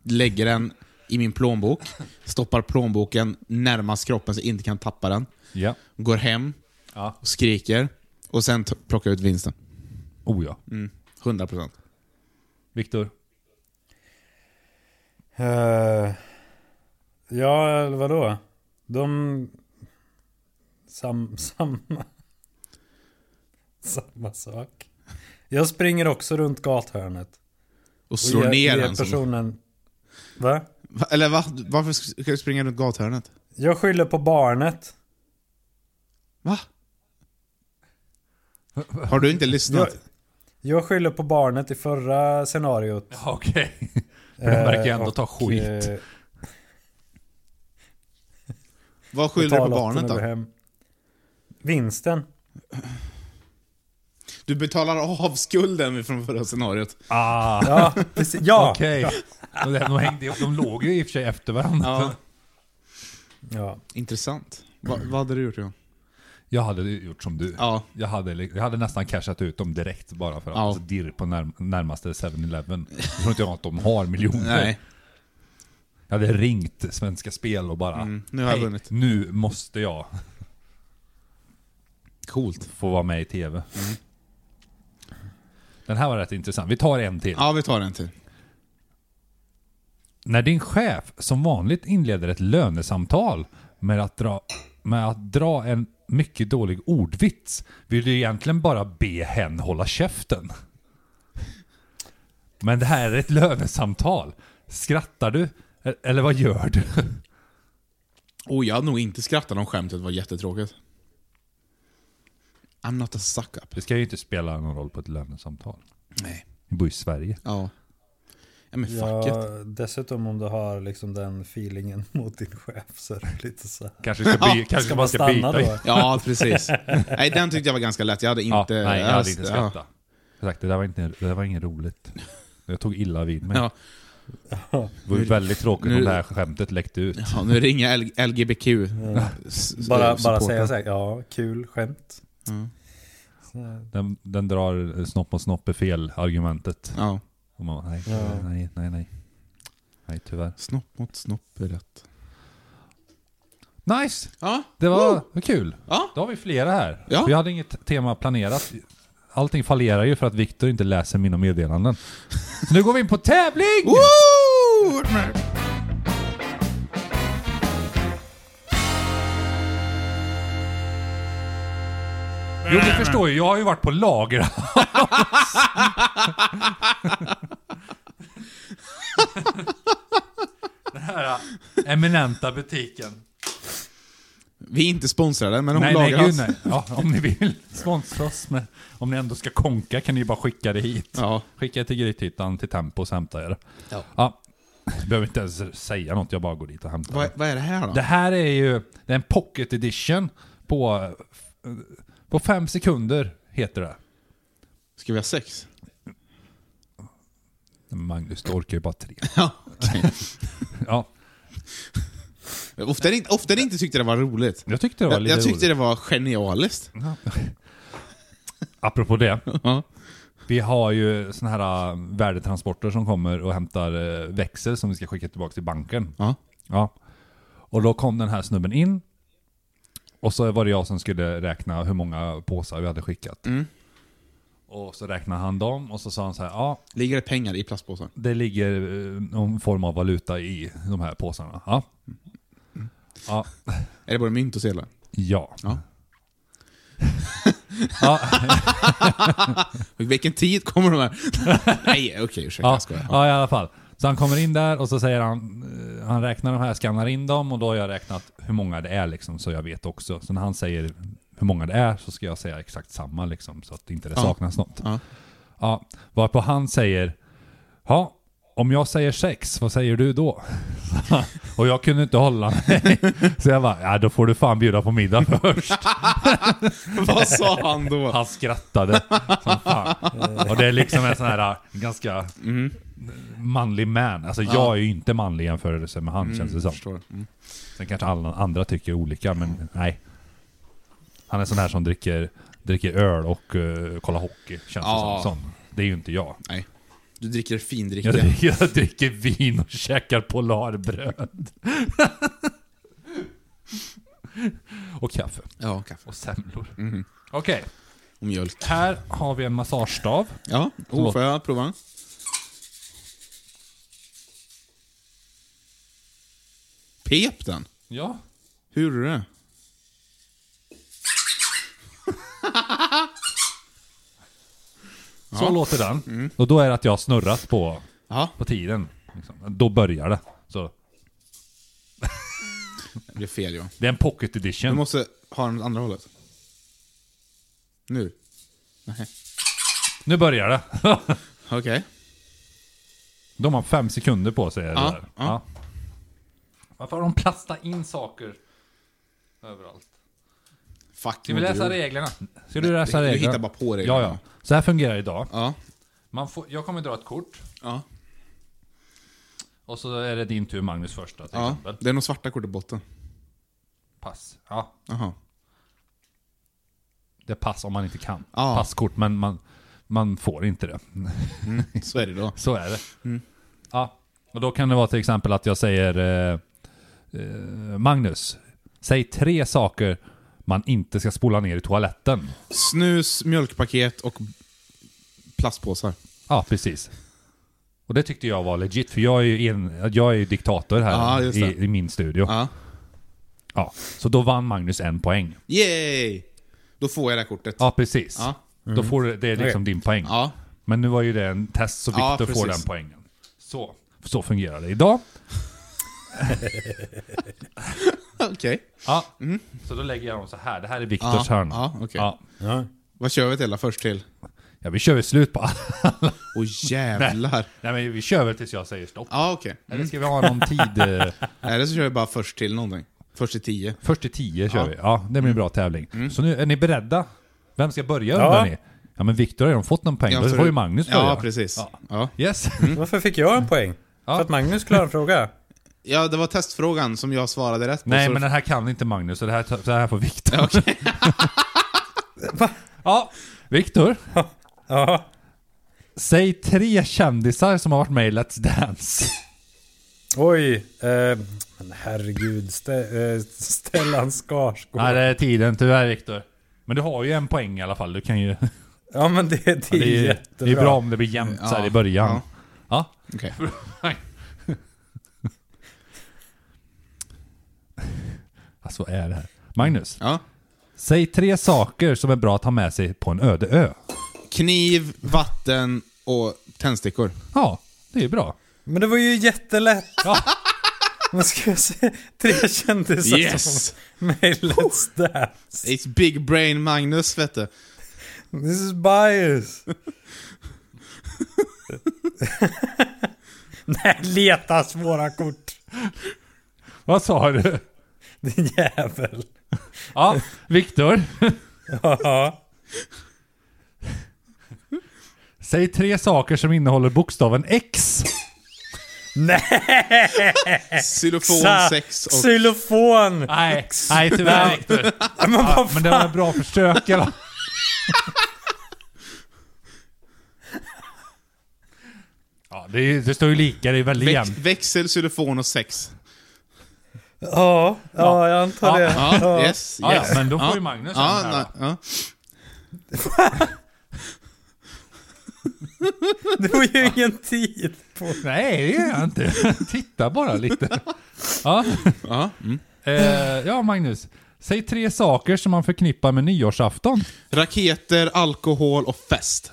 [SPEAKER 1] Lägger den i min plånbok. Stoppar plånboken närmast kroppen så jag inte kan tappa den.
[SPEAKER 2] Ja.
[SPEAKER 1] Går hem
[SPEAKER 2] Ja.
[SPEAKER 1] och skriker. Och sen t- plockar jag ut vinsten.
[SPEAKER 2] Oh ja.
[SPEAKER 1] 100%.
[SPEAKER 2] Viktor?
[SPEAKER 3] Uh, ja, eller vadå? De... Sam, samma... Samma sak. Jag springer också runt gathörnet.
[SPEAKER 1] Och slår ner den. Som...
[SPEAKER 3] personen... Va?
[SPEAKER 1] Va- Eller va? Varför ska du springa runt gathörnet?
[SPEAKER 3] Jag skyller på barnet.
[SPEAKER 1] Va? Har du inte
[SPEAKER 3] Jag,
[SPEAKER 1] lyssnat?
[SPEAKER 3] jag skyller på barnet i förra scenariot.
[SPEAKER 2] Okej. För den verkar ju ändå
[SPEAKER 3] Eh,
[SPEAKER 2] ta
[SPEAKER 3] och,
[SPEAKER 2] skit.
[SPEAKER 3] eh,
[SPEAKER 1] Vad skyller du på
[SPEAKER 3] betalar
[SPEAKER 1] barnet
[SPEAKER 3] åttorna
[SPEAKER 1] då?
[SPEAKER 3] går hem. Vinsten.
[SPEAKER 1] Du betalar av skulden från förra scenariot.
[SPEAKER 2] Ah.
[SPEAKER 3] Ja, precis. Ja!
[SPEAKER 2] Okej. De, de, hängde, ihop- de låg ju i och för sig efter varandra.
[SPEAKER 3] ja.
[SPEAKER 1] Intressant. Va, vad hade du gjort Johan?
[SPEAKER 2] Jag hade ju gjort som du.
[SPEAKER 1] Ja.
[SPEAKER 2] Jag, hade, li- jag hade nästan cashat ut dem direkt bara för att
[SPEAKER 1] Ja.
[SPEAKER 2] alltså, dirr på när, närmaste 7-Eleven. Jag tror inte jag att de har miljoner.
[SPEAKER 1] Nej.
[SPEAKER 2] Jag hade ringt Svenska Spel och bara
[SPEAKER 1] Mm, nu har jag
[SPEAKER 2] "Hej,
[SPEAKER 1] vunnit."
[SPEAKER 2] Nu måste jag
[SPEAKER 1] Coolt. Mm.
[SPEAKER 2] få vara med i TV. Den här var rätt intressant. Vi tar en till.
[SPEAKER 1] Ja, vi tar en till.
[SPEAKER 2] När din chef som vanligt inleder ett lönesamtal med att dra, med att dra en mycket dålig ordvits vill du egentligen bara be hen hålla käften. Men det här är ett lönesamtal. Skrattar du? E- Eller vad gör du?
[SPEAKER 1] Mm. Oh, jag hade nog inte skrattat om skämtet var jättetråkigt. I'm not a suck up.
[SPEAKER 2] Det ska ju inte spela någon roll på ett lönesamtal.
[SPEAKER 1] Nej.
[SPEAKER 2] Vi bor i Sverige.
[SPEAKER 1] Ja. Ja men fuck it.
[SPEAKER 3] Ja, dessutom om du har liksom den feelingen mot din chef så är det lite så här.
[SPEAKER 2] Kanske ska, by- kanske
[SPEAKER 3] Ska
[SPEAKER 2] man
[SPEAKER 3] man
[SPEAKER 2] ska
[SPEAKER 3] stanna
[SPEAKER 2] byta.
[SPEAKER 3] då?
[SPEAKER 1] Ja, precis. Nej, den tyckte jag var ganska lätt. Jag hade inte...
[SPEAKER 2] Ja, nej, jag hade inte
[SPEAKER 1] ja.
[SPEAKER 2] skrattat. Jag sagt, det där var, inte, det där var inget roligt. Jag tog illa vid mig.
[SPEAKER 1] Ja.
[SPEAKER 2] Det var ju väldigt tråkigt
[SPEAKER 1] nu-
[SPEAKER 2] om det här skämtet läckte ut.
[SPEAKER 1] Ja, nu ringer jag L- LGBTQ. s- s-
[SPEAKER 3] Mm. Eh, Bara, bara
[SPEAKER 1] supporten.
[SPEAKER 3] säga såhär, ja, kul skämt.
[SPEAKER 1] Ja.
[SPEAKER 3] Så här,
[SPEAKER 2] Den, den drar eh, snopp och snopp är fel argumentet.
[SPEAKER 1] Ja.
[SPEAKER 2] Och man, bara, nej,
[SPEAKER 3] Ja.
[SPEAKER 2] nej, nej, nej. Nej, tyvärr.
[SPEAKER 1] Snopp mot snopp är rätt.
[SPEAKER 2] Nice!
[SPEAKER 1] Ja.
[SPEAKER 2] Det var vad kul.
[SPEAKER 1] Ja.
[SPEAKER 2] Då har vi flera här.
[SPEAKER 1] Ja.
[SPEAKER 2] Vi hade inget tema planerat. Allting fallerar ju för att Viktor inte läser mina meddelanden. Så nu går vi in på tävling!
[SPEAKER 1] Woo!
[SPEAKER 2] Jo, du förstår ju. Jag har ju varit på lager. Den här eh, eminenta butiken.
[SPEAKER 1] Vi är inte sponsrade, men hon
[SPEAKER 2] Nej, nej,
[SPEAKER 1] lagar alltså.
[SPEAKER 2] gud,
[SPEAKER 1] hans.
[SPEAKER 2] nej. Ja, om ni vill sponsra oss med... Om ni ändå ska konka kan ni ju bara skicka det hit.
[SPEAKER 1] Ja.
[SPEAKER 2] Skicka det till Grythyttan, till Tempo så hämtar jag det.
[SPEAKER 1] Ja.
[SPEAKER 2] Jag behöver inte ens säga något, jag bara går dit och hämtar
[SPEAKER 1] Vad,
[SPEAKER 2] det.
[SPEAKER 1] vad är det här då?
[SPEAKER 2] Det här är ju... Det är en pocket edition på... eh, På fem sekunder heter det.
[SPEAKER 1] Ska vi ha sex?
[SPEAKER 2] Magnus, du orkar ju bara tre.
[SPEAKER 1] Ja, okej.
[SPEAKER 2] Ja,
[SPEAKER 1] Ofta är det inte- ofta är det inte tyckte det var roligt.
[SPEAKER 2] jag tyckte det var
[SPEAKER 1] Jag,
[SPEAKER 2] lite
[SPEAKER 1] jag tyckte
[SPEAKER 2] roligt.
[SPEAKER 1] det var genialiskt.
[SPEAKER 2] Apropå det.
[SPEAKER 1] Ja.
[SPEAKER 2] Vi har ju såna här eh, äh, värdetransporter som kommer och hämtar eh, växel som vi ska skicka tillbaka till banken.
[SPEAKER 1] Ja.
[SPEAKER 2] Ja. Och då kom den här snubben in. Och så var det jag som skulle räkna hur många påsar vi hade skickat.
[SPEAKER 1] Mm.
[SPEAKER 2] Och så räknade han dem och så sa han så här, ja,
[SPEAKER 1] Ligger det pengar i plastpåsen?
[SPEAKER 2] det ligger eh, någon form av valuta i de här påsarna. Ja.
[SPEAKER 1] Mm.
[SPEAKER 2] Ja.
[SPEAKER 1] Är det både mynt och sedlar?
[SPEAKER 2] Ja.
[SPEAKER 1] Ja.
[SPEAKER 2] Ja,
[SPEAKER 1] Och vilken tid kommer de här? Nej, okej, ursäkta.
[SPEAKER 2] ja,
[SPEAKER 1] Jag skojar. Ja.
[SPEAKER 2] ja, i alla fall. Så han kommer in där och så säger han, eh, han räknar de här, skannar in dem och då har jag räknat hur många det är liksom, så jag vet också. Så när han säger hur många det är så ska jag säga exakt samma liksom, så att inte det
[SPEAKER 1] Ja.
[SPEAKER 2] saknas något.
[SPEAKER 1] Ja.
[SPEAKER 2] Ja, varpå han säger, ja, om jag säger sex, vad säger du då? och jag kunde inte hålla mig. Så jag bara, ja då får du fan bjuda på middag först.
[SPEAKER 1] Vad sa han då?
[SPEAKER 2] Han skrattade som fan. Och det är liksom en sån här äh, ganska manlig man. Alltså jag är ju inte manlig i jämförelse med han känns det som.
[SPEAKER 1] Förstår. Mm.
[SPEAKER 2] Sen kanske alla andra tycker olika, men nej. Han är sån här som dricker, dricker öl och eh, kollar hockey, känns
[SPEAKER 1] Ja.
[SPEAKER 2] det som. Sån. Det är ju inte jag.
[SPEAKER 1] Nej. Du dricker findricka.
[SPEAKER 2] Jag dricker, jag dricker vin och käkar polarbröd. och kaffe.
[SPEAKER 1] Ja, kaffe.
[SPEAKER 2] Och semlor. Okej,
[SPEAKER 1] Och mjölk.
[SPEAKER 2] här har vi en massagestav.
[SPEAKER 1] Ja, oh, får jag prova? Pep den?
[SPEAKER 2] Ja.
[SPEAKER 1] Hur gjorde du det?
[SPEAKER 2] Så låter den.
[SPEAKER 1] Mm.
[SPEAKER 2] Och då är det att jag har snurrat på,
[SPEAKER 1] Ja,
[SPEAKER 2] på tiden. Liksom. Då börjar det. Så.
[SPEAKER 1] det blev fel ja.
[SPEAKER 2] Det är en pocket
[SPEAKER 1] Du
[SPEAKER 2] edition.
[SPEAKER 1] måste ha den åt andra hållet. Nu. Nej.
[SPEAKER 2] Nu börjar det.
[SPEAKER 1] Okej.
[SPEAKER 2] de har fem sekunder på sig. eller
[SPEAKER 1] Ja,
[SPEAKER 2] där.
[SPEAKER 1] ja.
[SPEAKER 2] Varför har de plastat in saker överallt?
[SPEAKER 1] Fuck.
[SPEAKER 2] Ska vi
[SPEAKER 1] vad du-
[SPEAKER 2] läsa reglerna? Ska
[SPEAKER 1] Mm, Nej,
[SPEAKER 2] du läsa
[SPEAKER 1] du
[SPEAKER 2] reglerna?
[SPEAKER 1] hittar bara på reglerna.
[SPEAKER 2] Ja, ja. Så här fungerar det idag.
[SPEAKER 1] Ja.
[SPEAKER 2] Man får, jag kommer dra ett kort.
[SPEAKER 1] Ja.
[SPEAKER 2] Och så är det din tur Magnus första till
[SPEAKER 1] ja.
[SPEAKER 2] exempel.
[SPEAKER 1] Det är nog svarta kort i botten.
[SPEAKER 2] Pass. Ja,
[SPEAKER 1] Jaha.
[SPEAKER 2] det är pass om man inte kan.
[SPEAKER 1] Ja.
[SPEAKER 2] Passkort, men man, man får inte det.
[SPEAKER 1] Så är det då.
[SPEAKER 2] Så är det.
[SPEAKER 1] Mm.
[SPEAKER 2] Ja, och då kan det vara till exempel att jag säger eh, eh, Magnus, säg tre saker man inte ska spola ner i toaletten.
[SPEAKER 1] Snus, mjölkpaket och plastpåsar.
[SPEAKER 2] Ja, precis. Och det tyckte jag var legit, för jag är ju, en, jag är ju diktator här
[SPEAKER 1] Ja, just det.
[SPEAKER 2] i, i min studio. Ja.
[SPEAKER 1] Ja.
[SPEAKER 2] så då vann Magnus en poäng.
[SPEAKER 1] Yay! Då får jag det här kortet.
[SPEAKER 2] Ja, precis.
[SPEAKER 1] Ja. Mm.
[SPEAKER 2] Då får du, det är liksom din poäng.
[SPEAKER 1] Ja.
[SPEAKER 2] Men nu var ju det en test, så
[SPEAKER 1] Ja,
[SPEAKER 2] Viktor får den
[SPEAKER 1] precis.
[SPEAKER 2] poängen. Så, så fungerar det idag.
[SPEAKER 1] Okej.
[SPEAKER 2] Ja. Så då lägger jag dem så här. Det här är
[SPEAKER 1] Mm. Ja,
[SPEAKER 2] Viktors hörna.
[SPEAKER 1] ja, okej.
[SPEAKER 2] Ja.
[SPEAKER 3] Ja.
[SPEAKER 1] Vad kör vi till då? Först till?
[SPEAKER 2] Ja, vi kör ju slut på alla.
[SPEAKER 1] Åh jävlar.
[SPEAKER 2] Nej, men vi kör väl tills jag säger stopp.
[SPEAKER 1] Ja, okej.
[SPEAKER 2] Eller ska vi ha någon tid? eh,
[SPEAKER 1] Eller så kör vi bara först till någonting. Först till tio.
[SPEAKER 2] Först till tio kör vi. Ja, Mm. det blir en bra tävling. Så nu, är ni beredda? Vem ska börja
[SPEAKER 3] Ja.
[SPEAKER 2] undrar ni? Ja, men Viktor har ju fått någon poäng.
[SPEAKER 1] Ja,
[SPEAKER 2] Då
[SPEAKER 1] för-
[SPEAKER 2] får ju Magnus börja.
[SPEAKER 1] Ja, precis.
[SPEAKER 2] Ja.
[SPEAKER 1] Ja. Ja.
[SPEAKER 2] Yes.
[SPEAKER 3] Varför fick jag en poäng?
[SPEAKER 2] Ja.
[SPEAKER 3] För att Magnus klarade en fråga.
[SPEAKER 1] det var testfrågan som jag svarade rätt på.
[SPEAKER 2] Nej,
[SPEAKER 1] så-
[SPEAKER 2] men den här kan inte Magnus, så det här, tar- det här får Viktor. Ja, ja. Viktor.
[SPEAKER 3] Ja.
[SPEAKER 2] Säg tre kändisar som har varit med i Let's Dance.
[SPEAKER 3] Oj. Eh, men herregud. Stä, eh, Stellan Skarsgård.
[SPEAKER 2] Nej, det är tiden tyvärr Viktor. Men du har ju en poäng i alla fall. Du kan ju...
[SPEAKER 3] Ja men det, det är
[SPEAKER 2] Det är, ju-
[SPEAKER 3] jättebra.
[SPEAKER 2] det är bra om det blir jämnt så här i början. Ja.
[SPEAKER 1] Okej.
[SPEAKER 2] alltså vad är det här? Magnus,
[SPEAKER 1] Ja.
[SPEAKER 2] säg tre saker som är bra att ha med sig på en öde ö.
[SPEAKER 1] Kniv, vatten och tändstickor.
[SPEAKER 2] Ja, det är ju bra.
[SPEAKER 3] Men det var ju jättelätt.
[SPEAKER 2] Ja.
[SPEAKER 3] Vad ska jag säga? Tre kändisar
[SPEAKER 1] Yes!
[SPEAKER 3] som var med i Let's Dance.
[SPEAKER 1] It's big brain Magnus, vet du.
[SPEAKER 3] This is bias. Nej, leta svåra kort.
[SPEAKER 2] Vad sa du?
[SPEAKER 3] Din jävel.
[SPEAKER 2] Ja, Viktor.
[SPEAKER 3] Ja.
[SPEAKER 2] Säg tre saker som innehåller bokstaven X.
[SPEAKER 1] Xylofon,
[SPEAKER 3] Sa-
[SPEAKER 1] sex och...
[SPEAKER 3] Xylofon!
[SPEAKER 2] Nej, nej tyvärr Viktor. Ja, Ah, men det var ett bra försök eller? Ja, det, är ju- det står ju lika, det är väldigt
[SPEAKER 1] Väx,
[SPEAKER 2] jämnt.
[SPEAKER 1] växel, xylofon och sex.
[SPEAKER 3] Ja, ja jag antar det.
[SPEAKER 1] Ja,
[SPEAKER 3] Ja.
[SPEAKER 1] yes,
[SPEAKER 2] Ja, ja,
[SPEAKER 1] yes.
[SPEAKER 2] men då får ju Magnus
[SPEAKER 1] ja,
[SPEAKER 2] en här
[SPEAKER 1] nej, ja.
[SPEAKER 3] Det var ju ingen tid på.
[SPEAKER 2] Nej, det gör jag inte. Titta bara lite. Ja.
[SPEAKER 1] Ja, mm.
[SPEAKER 2] Eh, ja, Magnus. Säg tre saker som man förknippar med nyårsafton.
[SPEAKER 1] Raketer, alkohol och fest.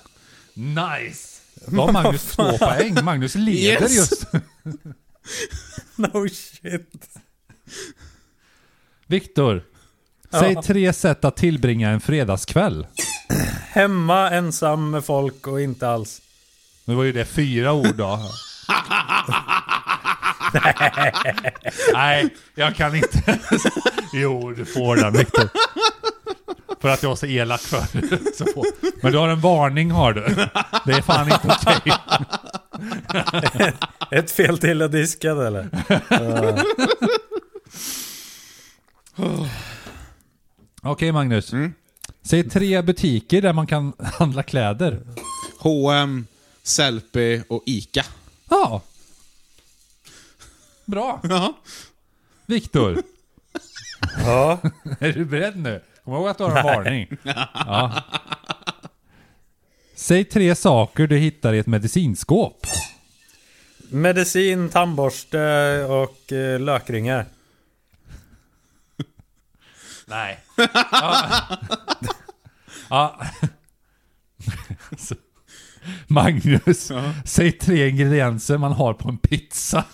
[SPEAKER 2] Nice! Var Magnus två poäng? Magnus leder
[SPEAKER 1] Yes.
[SPEAKER 2] just.
[SPEAKER 3] No shit.
[SPEAKER 2] Viktor. Säg tre sätt att tillbringa en fredagskväll.
[SPEAKER 3] Hemma, ensam med folk och inte alls.
[SPEAKER 2] Nu var ju det fyra ord då. Nej, jag kan inte. Jo, du får den Viktor. För att jag var så elak förut. så får- Men du har en varning har du. Det är fan inte okej.
[SPEAKER 3] Ett fel till att diska eller?
[SPEAKER 2] Okej Magnus. Säg tre butiker där man kan handla kläder.
[SPEAKER 1] H&M, Sellpy och Ica.
[SPEAKER 2] Ja. Bra.
[SPEAKER 1] Ja.
[SPEAKER 2] Viktor,
[SPEAKER 3] Ja.
[SPEAKER 2] är du beredd nu? Kom ihåg att du har en varning. Ja. Säg tre saker du hittar i ett medicinskåp.
[SPEAKER 3] Medicin, tandborste och eh, lökringar.
[SPEAKER 2] Nej. Ja. ja. Alltså, Magnus, säg tre ingredienser man har på en pizza.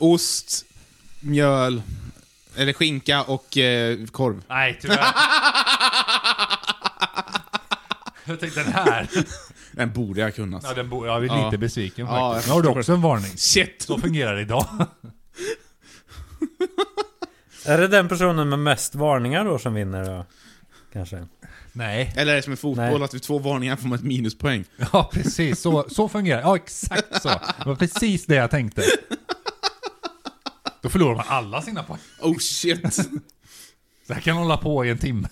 [SPEAKER 1] Ost, mjöl, eller skinka och eh, korv.
[SPEAKER 2] Nej, tyvärr. Jag tänkte den här.
[SPEAKER 1] Den borde jag kunnat.
[SPEAKER 2] Ja, den bo- jag är lite
[SPEAKER 1] Ja.
[SPEAKER 2] besviken
[SPEAKER 1] Ja, jag
[SPEAKER 2] faktiskt. Nu har du
[SPEAKER 1] förstår.
[SPEAKER 2] också en varning.
[SPEAKER 1] Shit!
[SPEAKER 2] Så fungerar det idag.
[SPEAKER 3] Är det den personen med mest varningar då som vinner då? Kanske.
[SPEAKER 2] Nej.
[SPEAKER 1] Eller är det som i fotboll,
[SPEAKER 3] Nej.
[SPEAKER 1] att vid två varningar får man ett minuspoäng.
[SPEAKER 2] Ja, precis. Så, så fungerar det. Ja, exakt så. Det var precis det jag tänkte. Då förlorar man alla sina poäng.
[SPEAKER 1] Oh shit!
[SPEAKER 2] Så här kan hålla på i en timme.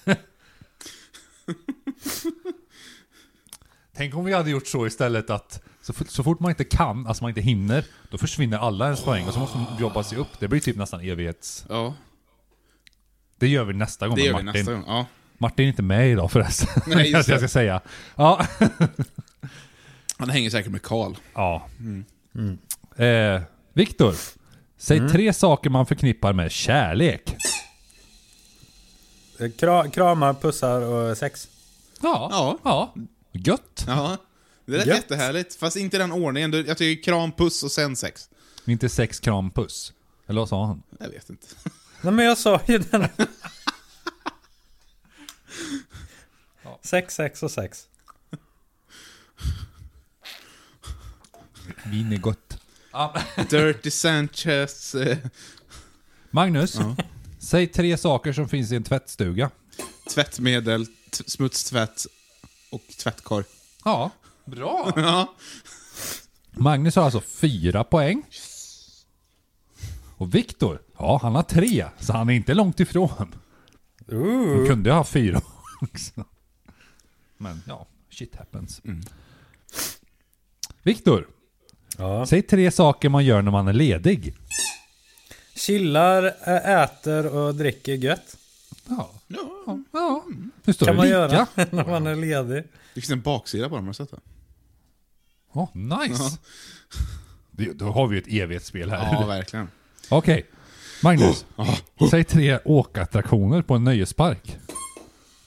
[SPEAKER 2] Tänk om vi hade gjort så istället att så, fort- så fort man inte kan, alltså man inte hinner, då försvinner alla ens poäng och så måste man jobba sig upp. Det blir typ nästan evighets...
[SPEAKER 1] Ja,
[SPEAKER 2] Det gör vi nästa gång
[SPEAKER 1] det
[SPEAKER 2] med
[SPEAKER 1] gör vi
[SPEAKER 2] Martin.
[SPEAKER 1] nästa gång. Ja.
[SPEAKER 2] Martin är inte med idag förresten.
[SPEAKER 1] Nej, just
[SPEAKER 2] Nej, jag
[SPEAKER 1] det.
[SPEAKER 2] ska säga. Ja.
[SPEAKER 1] Han hänger säkert med Karl.
[SPEAKER 2] ja. Eh, Viktor, säg tre saker man förknippar med kärlek.
[SPEAKER 3] Eh, Kra- kramar, pussar och sex.
[SPEAKER 2] Ja.
[SPEAKER 1] Ja.
[SPEAKER 2] ja. Gött.
[SPEAKER 1] Ja. Det lät
[SPEAKER 3] Gött.
[SPEAKER 1] jättehärligt, fast inte i den ordningen. Du- Jag tycker kram, puss och sen sex.
[SPEAKER 2] Inte sex, kram, puss. Eller vad sa han?
[SPEAKER 1] Jag vet inte.
[SPEAKER 3] Nej men jag sa ju den. Sex, sex och sex.
[SPEAKER 2] Vin är gött. Ja.
[SPEAKER 1] Dirty Sanchez. Eh,
[SPEAKER 2] Magnus, säg tre saker som finns i en tvättstuga.
[SPEAKER 1] tvättmedel, t- smutstvätt och tvättkorg.
[SPEAKER 2] Ja, bra.
[SPEAKER 1] Ja.
[SPEAKER 2] Magnus har alltså fyra poäng. Och Viktor, ja han har tre, så han är inte långt ifrån.
[SPEAKER 3] Ooh.
[SPEAKER 2] Han kunde ha fyra också. Men ja, shit happens. Viktor,
[SPEAKER 3] Ja.
[SPEAKER 2] säg tre saker man gör när man är ledig.
[SPEAKER 3] Chillar, ä- äter och dricker gött.
[SPEAKER 2] Ja, ja. ja. Nu står
[SPEAKER 3] Kan
[SPEAKER 2] det
[SPEAKER 3] man
[SPEAKER 2] lika.
[SPEAKER 3] göra när man är ledig.
[SPEAKER 1] Det finns en baksida på dem, har du sett det?
[SPEAKER 2] Ja, nice.
[SPEAKER 1] Ja.
[SPEAKER 2] Det, då har vi ju ett evighetsspel här.
[SPEAKER 1] Ja, verkligen.
[SPEAKER 2] Okej. Magnus,
[SPEAKER 1] Ja.
[SPEAKER 2] säg tre åkattraktioner på en nöjespark.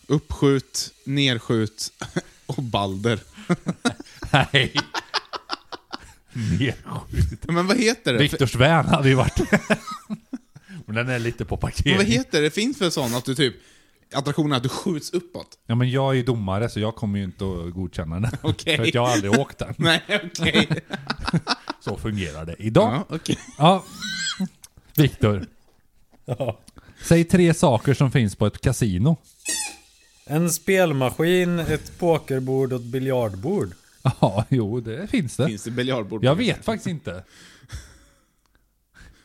[SPEAKER 1] Uppskjut, nerskjut och balder.
[SPEAKER 2] Nej. Nedskjut.
[SPEAKER 1] Men vad heter det?
[SPEAKER 2] Viktors vän hade ju varit Men den är lite på
[SPEAKER 1] Men vad
[SPEAKER 2] parkering.
[SPEAKER 1] heter det? Finns för sån att du typ... Attraktionen är att du skjuts uppåt?
[SPEAKER 2] Ja men jag är ju domare så jag kommer ju inte att godkänna den.
[SPEAKER 1] Okej.
[SPEAKER 2] För att jag har aldrig åkt den.
[SPEAKER 1] Nej, okej.
[SPEAKER 2] Så fungerar det idag. Ja.
[SPEAKER 1] Ja, okej.
[SPEAKER 2] Viktor.
[SPEAKER 3] Ja.
[SPEAKER 2] Säg tre saker som finns på ett kasino.
[SPEAKER 3] En spelmaskin, ett pokerbord och ett biljardbord.
[SPEAKER 2] Ja, jo det finns det.
[SPEAKER 1] Finns det biljardbord?
[SPEAKER 2] Jag vet faktiskt inte.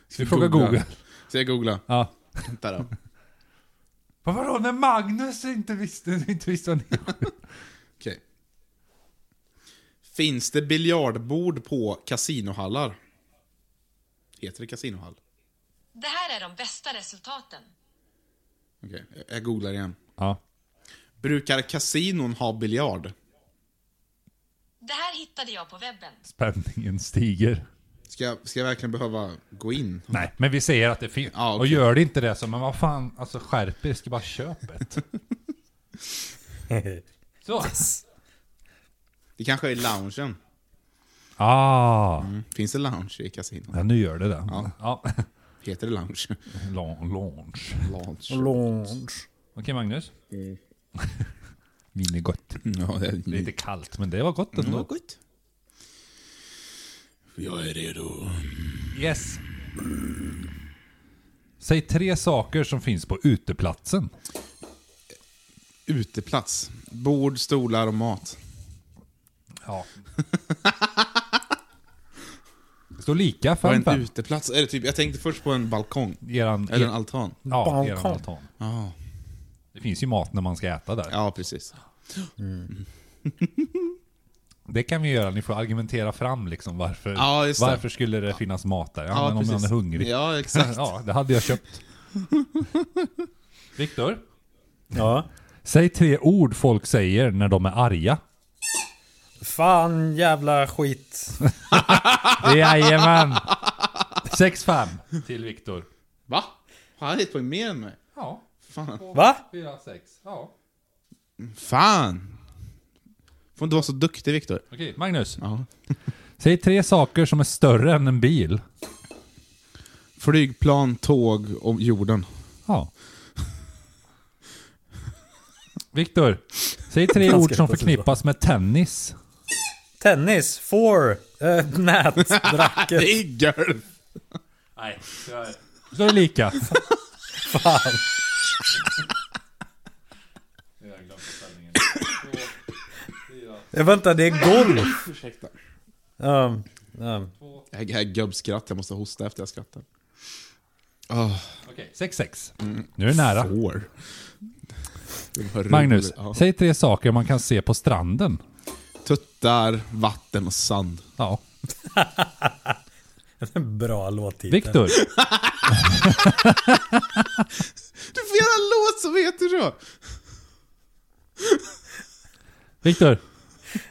[SPEAKER 1] Ska
[SPEAKER 2] vi fråga Google?
[SPEAKER 1] Ska jag googla?
[SPEAKER 2] Ja.
[SPEAKER 1] Vänta då.
[SPEAKER 2] Men vadå, när Magnus inte visste, inte visste vad ni...
[SPEAKER 1] Okej. Finns det biljardbord på kasinohallar? Heter det kasinohall?
[SPEAKER 5] Det här är de bästa resultaten.
[SPEAKER 1] Okej, jag- jag googlar igen.
[SPEAKER 2] Ja.
[SPEAKER 1] Brukar kasinon ha biljard?
[SPEAKER 5] Det här hittade jag på webben.
[SPEAKER 2] Spänningen stiger.
[SPEAKER 1] Ska jag, ska jag verkligen behöva gå in?
[SPEAKER 2] Nej, men vi säger att det finns.
[SPEAKER 1] Ja, okej.
[SPEAKER 2] Och gör det inte det så, men vad fan, alltså skärp er, ska bara köpa ett. Så.
[SPEAKER 1] Det kanske är i loungen?
[SPEAKER 2] Ah,
[SPEAKER 1] Finns det lounge i kasinon?
[SPEAKER 2] ja, nu gör det det.
[SPEAKER 1] Mm. Ja.
[SPEAKER 2] Ja.
[SPEAKER 1] Heter det lounge?
[SPEAKER 2] Lon- Launch.
[SPEAKER 1] lounge.
[SPEAKER 3] Lounge.
[SPEAKER 2] Okej Magnus.
[SPEAKER 1] Mm.
[SPEAKER 2] Vin är gott.
[SPEAKER 1] Ja, det är
[SPEAKER 2] Lite kallt, men det var gott
[SPEAKER 1] Mm,
[SPEAKER 2] ändå.
[SPEAKER 1] gott. Jag är redo.
[SPEAKER 2] Yes. Säg tre saker som finns på uteplatsen.
[SPEAKER 1] Uteplats. Bord, stolar och mat.
[SPEAKER 2] Ja. Det står lika
[SPEAKER 1] Vad är
[SPEAKER 2] fem
[SPEAKER 1] en
[SPEAKER 2] fem.
[SPEAKER 1] uteplats? Är det typ, jag tänkte först på en balkong.
[SPEAKER 2] Eran,
[SPEAKER 1] Eller en altan. Ah.
[SPEAKER 2] ja, eran
[SPEAKER 3] balkong.
[SPEAKER 2] altan.
[SPEAKER 1] Ja,
[SPEAKER 2] Det finns ju mat när man ska äta där.
[SPEAKER 1] ja precis.
[SPEAKER 2] Det kan vi göra, ni får argumentera fram liksom varför,
[SPEAKER 1] Ja, just det.
[SPEAKER 2] varför skulle det finnas mat där? Ja,
[SPEAKER 1] Ja,
[SPEAKER 2] men om man
[SPEAKER 1] precis.
[SPEAKER 2] är hungrig.
[SPEAKER 1] Ja, exakt.
[SPEAKER 2] ja, det hade jag köpt. Viktor?
[SPEAKER 3] Ja.
[SPEAKER 2] Säg tre ord folk säger när de är arga.
[SPEAKER 3] Fan jävla skit.
[SPEAKER 2] Jajamän! 6-5 till Viktor.
[SPEAKER 1] Va? Har han ett poäng mer än mig?
[SPEAKER 2] Ja,
[SPEAKER 1] Fan.
[SPEAKER 3] Va?
[SPEAKER 2] 4-6. Ja.
[SPEAKER 1] Fan! Får inte vara så duktig, Viktor.
[SPEAKER 2] Okej, Magnus.
[SPEAKER 1] Ja.
[SPEAKER 2] Säg tre saker som är större än en bil.
[SPEAKER 1] Flygplan, tåg och jorden.
[SPEAKER 2] Ja. Viktor, säg tre
[SPEAKER 3] Ganska
[SPEAKER 2] ord som
[SPEAKER 3] precis,
[SPEAKER 2] förknippas med tennis.
[SPEAKER 3] Tennis, four, eh, nät, dracket.
[SPEAKER 1] Det är golf!
[SPEAKER 2] Nej, så är det lika.
[SPEAKER 3] Fan. Jag väntar, Eh, det är golf.
[SPEAKER 1] Ursäkta.
[SPEAKER 3] Um, um,
[SPEAKER 1] Jag jag har gubbskratt, jag måste hosta efter jag skrattar. Oh,
[SPEAKER 2] Okej, 6-6. Nu är det nära.
[SPEAKER 1] får. Det var roligt.
[SPEAKER 2] Magnus,
[SPEAKER 1] Ja.
[SPEAKER 2] säg tre saker man kan se på stranden.
[SPEAKER 1] Tuttar, vatten och sand.
[SPEAKER 2] Ja.
[SPEAKER 3] bra låttitel.
[SPEAKER 2] Viktor,
[SPEAKER 1] Du får göra en låt som heter så!
[SPEAKER 2] Viktor.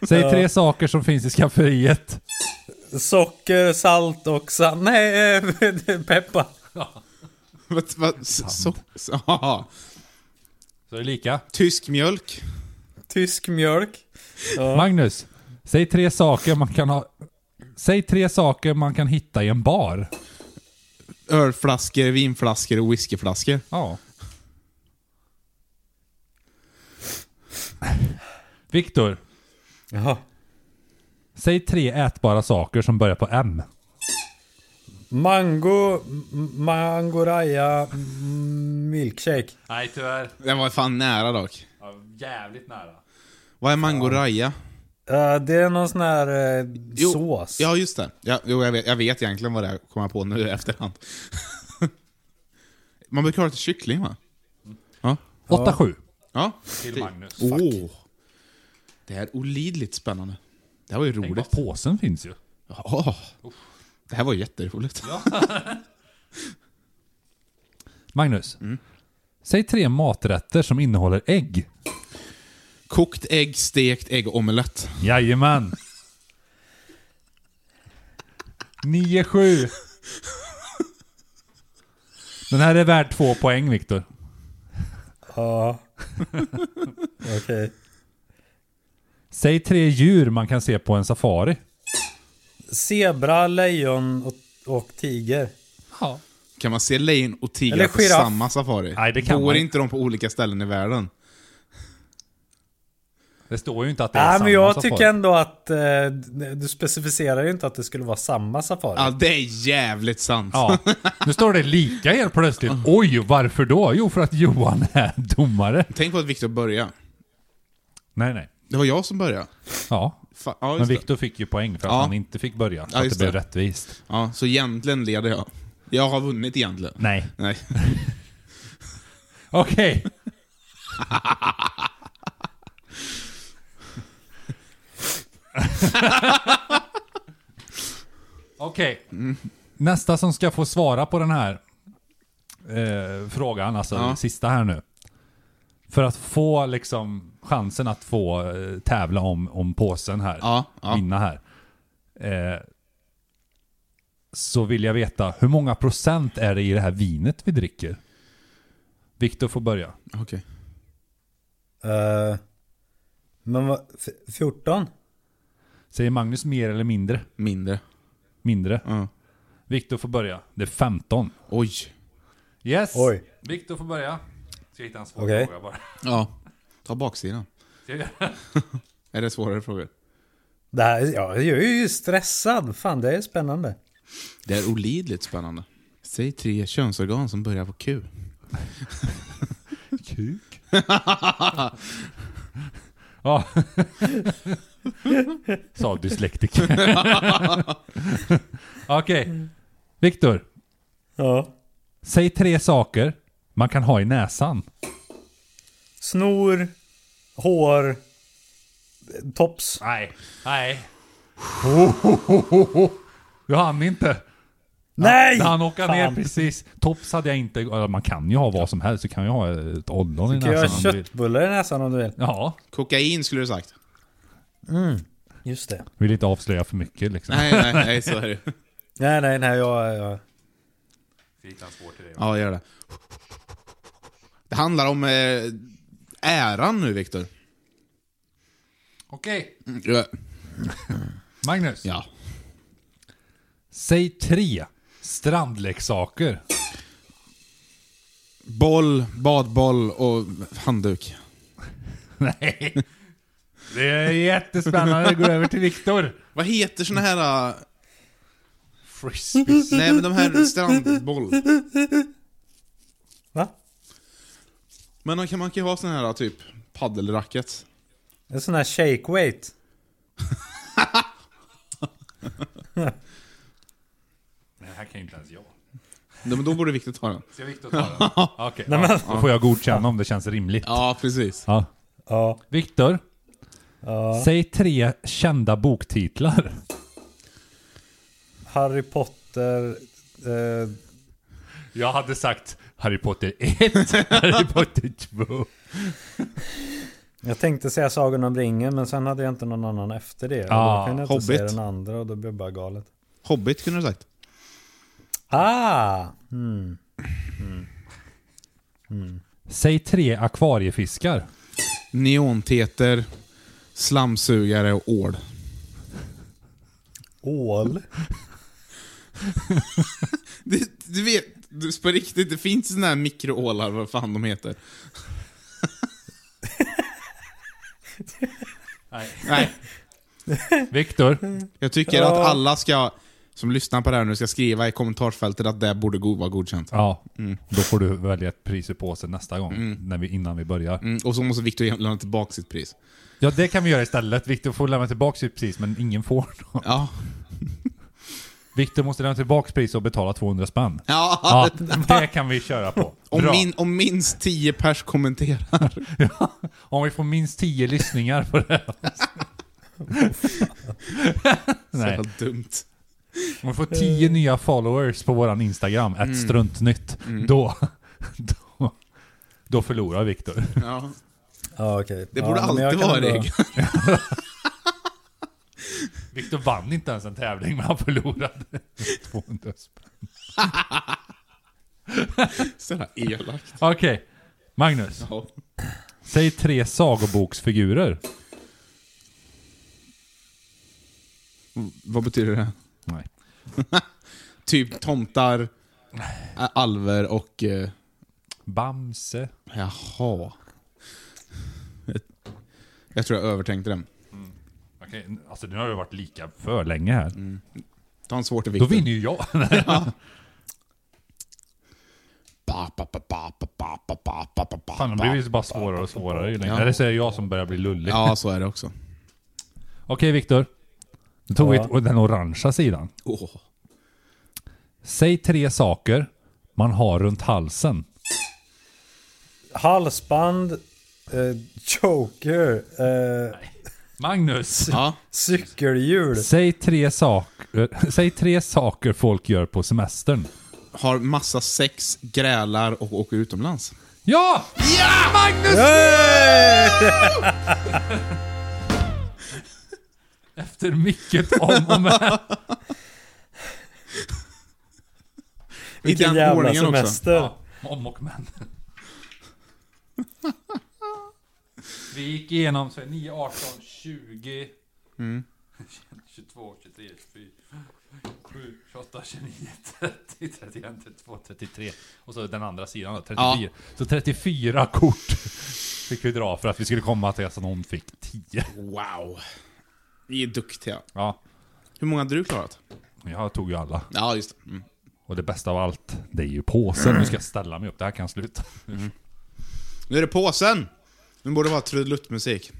[SPEAKER 2] Säg tre saker som finns i skafferiet.
[SPEAKER 3] Socker, salt och sand. Nej, eh, peppar.
[SPEAKER 1] Vad- vad- s- So s- aha.
[SPEAKER 2] Så är det lika.
[SPEAKER 1] Tysk mjölk.
[SPEAKER 3] Tysk mjölk.
[SPEAKER 2] Magnus, säg tre saker man kan ha... Säg tre saker man kan hitta i en bar.
[SPEAKER 1] Ölflaskor, vinflaskor och whiskyflaskor.
[SPEAKER 2] Ja. Viktor,
[SPEAKER 3] Jaha.
[SPEAKER 2] säg tre ätbara saker som börjar på M.
[SPEAKER 3] Mango, m- mangoraja, m- milkshake.
[SPEAKER 2] Nej tyvärr.
[SPEAKER 1] Den var fan nära dock.
[SPEAKER 2] jävligt nära.
[SPEAKER 1] Vad är mangoraja?
[SPEAKER 3] Eh, det är någon sån här eh,
[SPEAKER 1] Jo,
[SPEAKER 3] sås.
[SPEAKER 1] Ja, just det. Ja, jo, jag, vet, jag vet egentligen vad det är, kommer jag på nu i efterhand. Man brukar ha lite kyckling, va?
[SPEAKER 2] 8-7.
[SPEAKER 1] Ja.
[SPEAKER 2] Till Magnus.
[SPEAKER 1] Åh! Det här är olidligt spännande. Det här var ju
[SPEAKER 2] Tänk vad
[SPEAKER 1] roligt.
[SPEAKER 2] påsen finns ju.
[SPEAKER 1] Åh. Det här var jätteroligt.
[SPEAKER 2] Magnus. Säg tre maträtter som innehåller ägg.
[SPEAKER 1] Kokt ägg, stekt ägg och omelett.
[SPEAKER 2] Jajamän. 9-7. Den här är värd två poäng, Viktor.
[SPEAKER 3] Ja. Okej.
[SPEAKER 2] Säg tre djur man kan se på en safari.
[SPEAKER 3] Zebra, lejon och, och tiger.
[SPEAKER 2] Ja.
[SPEAKER 1] Kan man se lejon och tigrar
[SPEAKER 3] Eller
[SPEAKER 1] på
[SPEAKER 3] giraff.
[SPEAKER 1] samma safari?
[SPEAKER 2] Nej, det kan
[SPEAKER 1] Bor
[SPEAKER 2] man
[SPEAKER 1] inte de på olika ställen i världen?
[SPEAKER 2] Det står ju inte att det är
[SPEAKER 3] Nej,
[SPEAKER 2] samma
[SPEAKER 3] men jag
[SPEAKER 2] safari.
[SPEAKER 3] tycker ändå att eh, du specificerar ju inte att det skulle vara samma safari.
[SPEAKER 1] Ja, det är jävligt sant.
[SPEAKER 2] Ja. Nu står det lika helt plötsligt. Oj, varför då? Jo, för att Johan är domare.
[SPEAKER 1] Tänk på att Viktor började.
[SPEAKER 2] Nej, nej.
[SPEAKER 1] Det var jag som började.
[SPEAKER 2] Ja.
[SPEAKER 1] Fa- ja,
[SPEAKER 2] Men
[SPEAKER 1] just det.
[SPEAKER 2] Viktor fick ju poäng för att
[SPEAKER 1] Ja.
[SPEAKER 2] han inte fick börja. Så
[SPEAKER 1] Ja,
[SPEAKER 2] att
[SPEAKER 1] just
[SPEAKER 2] det blev
[SPEAKER 1] det.
[SPEAKER 2] rättvist.
[SPEAKER 1] Ja, så egentligen leder jag. Jag har vunnit egentligen.
[SPEAKER 2] Nej.
[SPEAKER 1] Nej.
[SPEAKER 2] Okej. Okej. Nästa som ska få svara på den här eh, frågan, alltså
[SPEAKER 1] Ja.
[SPEAKER 2] sista här nu. För att få liksom chansen att få eh, tävla om, om påsen här,
[SPEAKER 1] Ja, ja.
[SPEAKER 2] vinna här. Eh, så vill jag veta, hur många procent är det i det här vinet vi dricker? Viktor får börja.
[SPEAKER 1] Okej.
[SPEAKER 3] Eh, men vad, f- 14?
[SPEAKER 2] Säger Magnus mer eller mindre?
[SPEAKER 1] Mindre.
[SPEAKER 2] Mindre.
[SPEAKER 1] Ja.
[SPEAKER 2] Viktor får börja. Det är 15.
[SPEAKER 1] Oj.
[SPEAKER 2] Yes!
[SPEAKER 3] Oj.
[SPEAKER 2] Viktor får börja. Ska hitta en svår
[SPEAKER 3] Okej.
[SPEAKER 2] fråga bara.
[SPEAKER 1] Ja. Ta baksidan.
[SPEAKER 2] Ska jag göra?
[SPEAKER 1] Är det svårare frågor?
[SPEAKER 3] Det här, ja, jag är ju stressad. Fan, det är spännande.
[SPEAKER 1] Det är olidligt spännande. Säg tre könsorgan som börjar på Q.
[SPEAKER 2] Kuk? ja. Sa dyslektiker. Okej. Viktor,
[SPEAKER 3] Ja.
[SPEAKER 2] säg tre saker man kan ha i näsan.
[SPEAKER 3] Snor, hår, tops.
[SPEAKER 2] Nej. Nej. Du hann inte.
[SPEAKER 3] Nej!
[SPEAKER 2] Han åka ner
[SPEAKER 3] Fan.
[SPEAKER 2] precis. Tops hade jag inte. eller Man kan ju ha vad som helst. Du kan ju ha ett ollon i
[SPEAKER 3] Kan jag
[SPEAKER 2] näsan.
[SPEAKER 3] ha
[SPEAKER 2] om du vill.
[SPEAKER 3] köttbullar i näsan om du vill?
[SPEAKER 2] Ja.
[SPEAKER 1] Kokain skulle du sagt.
[SPEAKER 3] Just det.
[SPEAKER 2] Vill inte avslöja för mycket liksom.
[SPEAKER 1] Nej, nej, nej, så är det
[SPEAKER 3] Nej, nej, nej, jag... jag
[SPEAKER 1] Ja, gör det. Det handlar om eh, äran nu, Viktor.
[SPEAKER 2] Okej.
[SPEAKER 1] Ja.
[SPEAKER 2] Magnus.
[SPEAKER 1] Ja.
[SPEAKER 2] Säg tre strandleksaker.
[SPEAKER 1] Boll, badboll och handduk.
[SPEAKER 2] Nej. Det är jättespännande. Det går över till Viktor.
[SPEAKER 1] Vad heter såna här... eh,
[SPEAKER 2] Frisbees.
[SPEAKER 1] Nej, men de här strandboll.
[SPEAKER 3] va?
[SPEAKER 1] Men de kan man kan ju ha såna här typ paddelracket.
[SPEAKER 3] En sån här shake weight.
[SPEAKER 2] Men det här kan ju inte ens jag.
[SPEAKER 1] Nej, men då borde Viktor ta den.
[SPEAKER 2] Ska Viktor ta den? Okej. ja. Då får jag godkänna om det känns rimligt.
[SPEAKER 1] Ja, precis.
[SPEAKER 2] Ja.
[SPEAKER 3] Ja.
[SPEAKER 2] Viktor.
[SPEAKER 3] ja.
[SPEAKER 2] Säg tre kända boktitlar.
[SPEAKER 3] Harry Potter... Eh,
[SPEAKER 2] Jag hade sagt Harry Potter 1, Harry Potter 2.
[SPEAKER 3] jag tänkte säga Sagan om ringen men sen hade jag inte någon annan efter det.
[SPEAKER 2] Ah,
[SPEAKER 3] Ah, då kunde jag inte säga
[SPEAKER 1] Hobbit.
[SPEAKER 3] den andra och då blev jag bara galet.
[SPEAKER 1] Hobbit kunde du sagt.
[SPEAKER 3] Ah! Mm.
[SPEAKER 2] Säg tre akvariefiskar.
[SPEAKER 1] Neonteter, slamsugare och ål.
[SPEAKER 3] Ål.
[SPEAKER 1] Du, du vet, du, på riktigt, det finns såna här mikroålar, vad fan de heter.
[SPEAKER 2] Nej.
[SPEAKER 1] Nej,
[SPEAKER 2] Viktor.
[SPEAKER 1] jag tycker
[SPEAKER 3] Ja.
[SPEAKER 1] att alla ska, som lyssnar på det här nu, ska skriva i kommentarsfältet att det borde go- vara godkänt.
[SPEAKER 2] Ja, då får du välja ett pris i påsen nästa gång när vi, innan vi börjar.
[SPEAKER 1] Mm, och så måste Viktor lämna tillbaka sitt pris.
[SPEAKER 2] Ja, det kan vi göra istället. Viktor får lämna tillbaka sitt pris, men ingen får. då.
[SPEAKER 1] Ja.
[SPEAKER 2] Viktor måste lämna tillbaka pris och betala 200 spänn.
[SPEAKER 1] Ja,
[SPEAKER 2] Ja, det kan vi köra på.
[SPEAKER 1] Om,
[SPEAKER 2] Bra.
[SPEAKER 1] min, om minst 10 pers kommenterar.
[SPEAKER 2] Om vi får minst 10 lyssningar på det här. Nej,
[SPEAKER 1] Så dumt.
[SPEAKER 2] om vi får 10 nya followers på våran Instagram, ett struntnytt, då, då, då förlorar Viktor.
[SPEAKER 1] Ja.
[SPEAKER 3] Ja, okej.
[SPEAKER 1] Det
[SPEAKER 3] ja,
[SPEAKER 1] borde
[SPEAKER 3] men jag
[SPEAKER 1] alltid
[SPEAKER 3] kan
[SPEAKER 1] vara
[SPEAKER 3] ändå-
[SPEAKER 1] regel.
[SPEAKER 2] Viktor vann inte ens en tävling, men han förlorade 200 spänn.
[SPEAKER 1] Sådär elakt.
[SPEAKER 2] Okej, Magnus.
[SPEAKER 1] Ja.
[SPEAKER 2] Säg tre sagoboksfigurer.
[SPEAKER 1] Vad betyder det?
[SPEAKER 2] Nej.
[SPEAKER 1] Typ tomtar, ä- alver och... eh,
[SPEAKER 2] Bamse.
[SPEAKER 1] Jaha. Jag tror jag övertänkte den.
[SPEAKER 2] Okej, alltså nu har det varit lika för länge här.
[SPEAKER 1] Ta en svår till
[SPEAKER 2] Då
[SPEAKER 1] Viktor.
[SPEAKER 2] vinner ju jag.
[SPEAKER 1] Ba, ba, ba, ba, ba, ba, ba, ba, ba, ba, ba.
[SPEAKER 2] Fan, det blir ju bara svårare och svårare ju längre.
[SPEAKER 1] Ja.
[SPEAKER 2] Eller så är det jag som börjar bli lullig.
[SPEAKER 1] Ja, så är det också.
[SPEAKER 2] Okej Viktor. Nu tog vi
[SPEAKER 3] Ja.
[SPEAKER 2] ett- den orangea sidan.
[SPEAKER 1] Åh.
[SPEAKER 2] Säg tre saker man har runt halsen.
[SPEAKER 3] Halsband, eh, choker, eh,
[SPEAKER 2] Magnus!
[SPEAKER 1] Ja.
[SPEAKER 3] cykelhjul.
[SPEAKER 2] eh, Säg tre, saker, säg tre saker folk gör på semestern.
[SPEAKER 1] har massa sex, grälar och åker utomlands.
[SPEAKER 2] Ja!
[SPEAKER 1] Ja! Magnus!
[SPEAKER 2] Efter mycket om och men.
[SPEAKER 1] I
[SPEAKER 3] Vilken
[SPEAKER 1] den
[SPEAKER 3] jävla
[SPEAKER 1] ordningen också.
[SPEAKER 3] semester.
[SPEAKER 2] Ja, om och men. Vi gick igenom så 9, 18, 20, Mm. 22, 23, 24, 27, 28, 29, 30, 31, 32, 33. Och så den andra sidan då, 34. Så 34 kort fick vi dra för att vi skulle komma till att hon fick 10.
[SPEAKER 1] Wow. Vi är duktiga.
[SPEAKER 2] Ja,
[SPEAKER 1] Hur många hade du klarat?
[SPEAKER 2] jag tog ju alla.
[SPEAKER 1] Ja, just det. Mm.
[SPEAKER 2] Och det bästa av allt, det är ju påsen. Nu ska jag ställa mig upp, det här kan sluta.
[SPEAKER 1] Nu är det påsen! Nu borde det vara trudeluttmusik.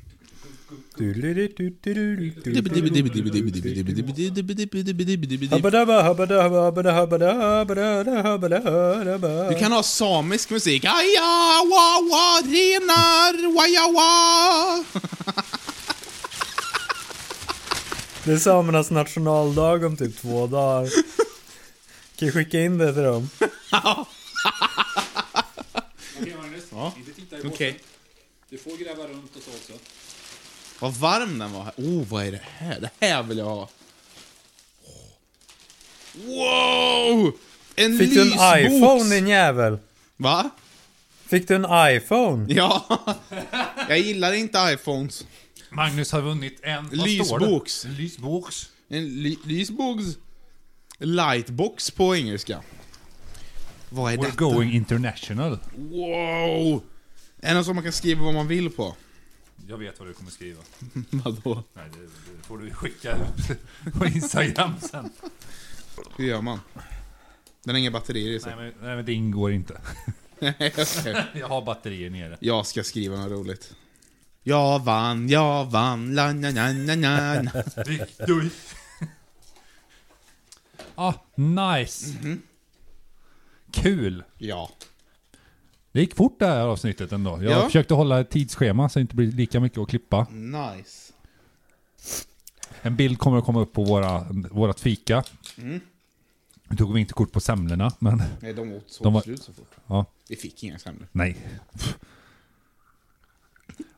[SPEAKER 3] Habadabba, habadabba, habadabba, habadabba, habadabba.
[SPEAKER 1] Du kan ha samisk musik. Aja, wa, wa, renar, waja, wa.
[SPEAKER 3] Det är samernas nationaldag om typ två dagar. Kan jag skicka in det till dem?
[SPEAKER 2] Okej Magnus, inte titta i
[SPEAKER 1] Okej.
[SPEAKER 2] Du får gräva runt och så också.
[SPEAKER 1] Vad varm den var. Oh, vad är det här? Det här vill jag ha. Wow! En
[SPEAKER 3] Fick du en
[SPEAKER 1] lysbok.
[SPEAKER 3] iPhone din jävel?
[SPEAKER 1] Va?
[SPEAKER 3] Fick du en iPhone?
[SPEAKER 1] Ja. Jag gillar inte iPhones.
[SPEAKER 2] Magnus har vunnit en... vad står det?
[SPEAKER 1] Lysboks.
[SPEAKER 2] Lysboks.
[SPEAKER 1] En ly- lysboks. Lightbox på engelska. Vad är
[SPEAKER 2] We're
[SPEAKER 1] detta?
[SPEAKER 2] going international.
[SPEAKER 1] Wow! En som man kan skriva vad man vill på.
[SPEAKER 2] Jag vet vad du kommer skriva.
[SPEAKER 1] Vadå?
[SPEAKER 2] Nej, det, det får du skicka ut på Instagram sen.
[SPEAKER 1] Hur gör man? Den har inga batterier i sig.
[SPEAKER 2] Nej men, nej, men det ingår inte.
[SPEAKER 1] Okej.
[SPEAKER 2] Jag har batterier nere.
[SPEAKER 1] jag ska skriva något roligt. Jag vann, jag vann, la na na na na na.
[SPEAKER 2] Victor. Ah, nice. Kul.
[SPEAKER 1] Ja.
[SPEAKER 2] Det gick fort det här avsnittet ändå. Jag
[SPEAKER 1] Ja. Mm.
[SPEAKER 2] försökte hålla ett tidsschema så det inte blir lika mycket att klippa.
[SPEAKER 1] Nice.
[SPEAKER 2] En bild kommer att komma upp på våra, vårat fika. Nu tog vi inte kort på semlorna, men
[SPEAKER 1] Nej, de åt så
[SPEAKER 2] De var-
[SPEAKER 1] slut så fort.
[SPEAKER 2] ja,
[SPEAKER 1] Vi fick inga semlor.
[SPEAKER 2] nej.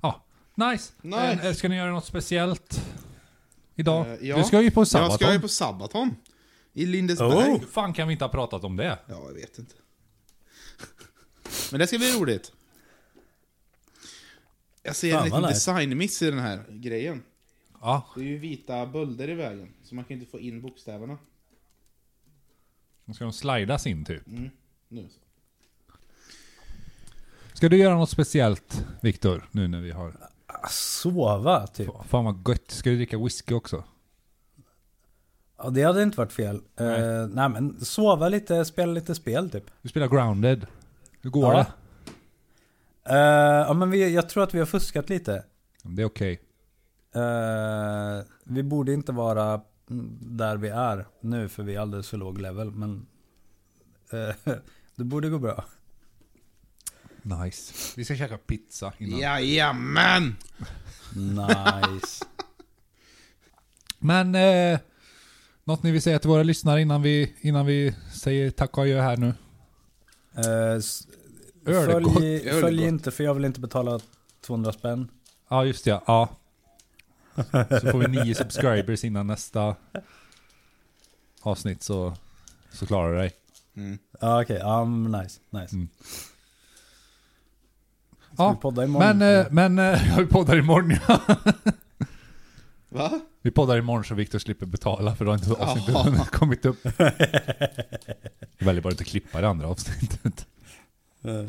[SPEAKER 2] Ja, nice.
[SPEAKER 1] Nice.
[SPEAKER 2] Eh, Ska ni göra något speciellt idag?
[SPEAKER 1] Eh, ja.
[SPEAKER 2] Du ska ju på
[SPEAKER 1] Jag
[SPEAKER 2] sabbaton.
[SPEAKER 1] ska ju på Sabaton. I Lindesberg.
[SPEAKER 3] Oh.
[SPEAKER 2] Hur fan kan vi inte ha pratat om det?
[SPEAKER 1] Ja, jag vet inte. Men det ska bli roligt. Jag ser
[SPEAKER 3] Fan,
[SPEAKER 1] en liten
[SPEAKER 3] vad nice.
[SPEAKER 1] designmiss i den här grejen.
[SPEAKER 2] Ja,
[SPEAKER 1] Det är ju vita bölder i vägen, så man kan inte få in bokstäverna.
[SPEAKER 2] då ska de slidas in typ.
[SPEAKER 1] Nu. så.
[SPEAKER 2] Ska du göra något speciellt, Viktor, nu när vi har...
[SPEAKER 3] Sova typ.
[SPEAKER 2] Fan vad gött. Ska du dricka whisky också?
[SPEAKER 3] Ja, det hade inte varit fel. Nej. nej men sova lite, spela lite spel typ.
[SPEAKER 2] Du spelar grounded. Hur går
[SPEAKER 3] Ja.
[SPEAKER 2] det?
[SPEAKER 3] Eh, ja men vi, jag tror att vi har fuskat lite.
[SPEAKER 2] Det är okej.
[SPEAKER 3] Eh, vi borde inte vara mm, där vi är nu för vi är alldeles för låg level. Men eh, det borde gå bra.
[SPEAKER 2] Nice. Vi ska käka pizza innan.
[SPEAKER 1] Jajamän!
[SPEAKER 3] Nice.
[SPEAKER 2] Men eh, något ni vill säga till våra lyssnare innan vi, innan vi säger tack och adjö här nu?
[SPEAKER 3] Eh, s-
[SPEAKER 2] Öl är
[SPEAKER 3] följ,
[SPEAKER 2] gott,
[SPEAKER 1] öl är
[SPEAKER 3] följ
[SPEAKER 1] gott.
[SPEAKER 3] inte för jag vill inte betala 200 spänn.
[SPEAKER 2] Ja, just det. Ja. Så får vi nio subscribers innan nästa avsnitt så, så klarar du dig.
[SPEAKER 3] Ja okej, ja men nice. nice.
[SPEAKER 2] Mm.
[SPEAKER 3] Ska vi
[SPEAKER 2] Ja,
[SPEAKER 3] podda imorgon?
[SPEAKER 2] men, eh, men eh, ja, vi poddar imorgon ja.
[SPEAKER 1] Va?
[SPEAKER 2] Vi poddar imorgon så Viktor slipper betala för då har inte avsnittet
[SPEAKER 1] Jaha.
[SPEAKER 2] hunnit kommit upp. Jag väljer bara inte att klippa det andra avsnittet.
[SPEAKER 3] Eh,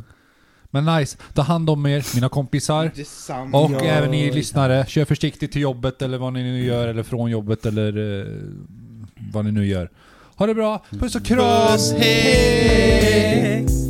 [SPEAKER 2] Men nice, ta hand om er, mina kompisar.
[SPEAKER 1] Detsamma.
[SPEAKER 2] Och
[SPEAKER 1] Ja.
[SPEAKER 2] även ni lyssnare, kör försiktigt till jobbet eller vad ni nu gör, eller från jobbet eller eh, vad ni nu gör. Ha det bra, puss och kram!
[SPEAKER 1] Puss, hej!
[SPEAKER 3] hej.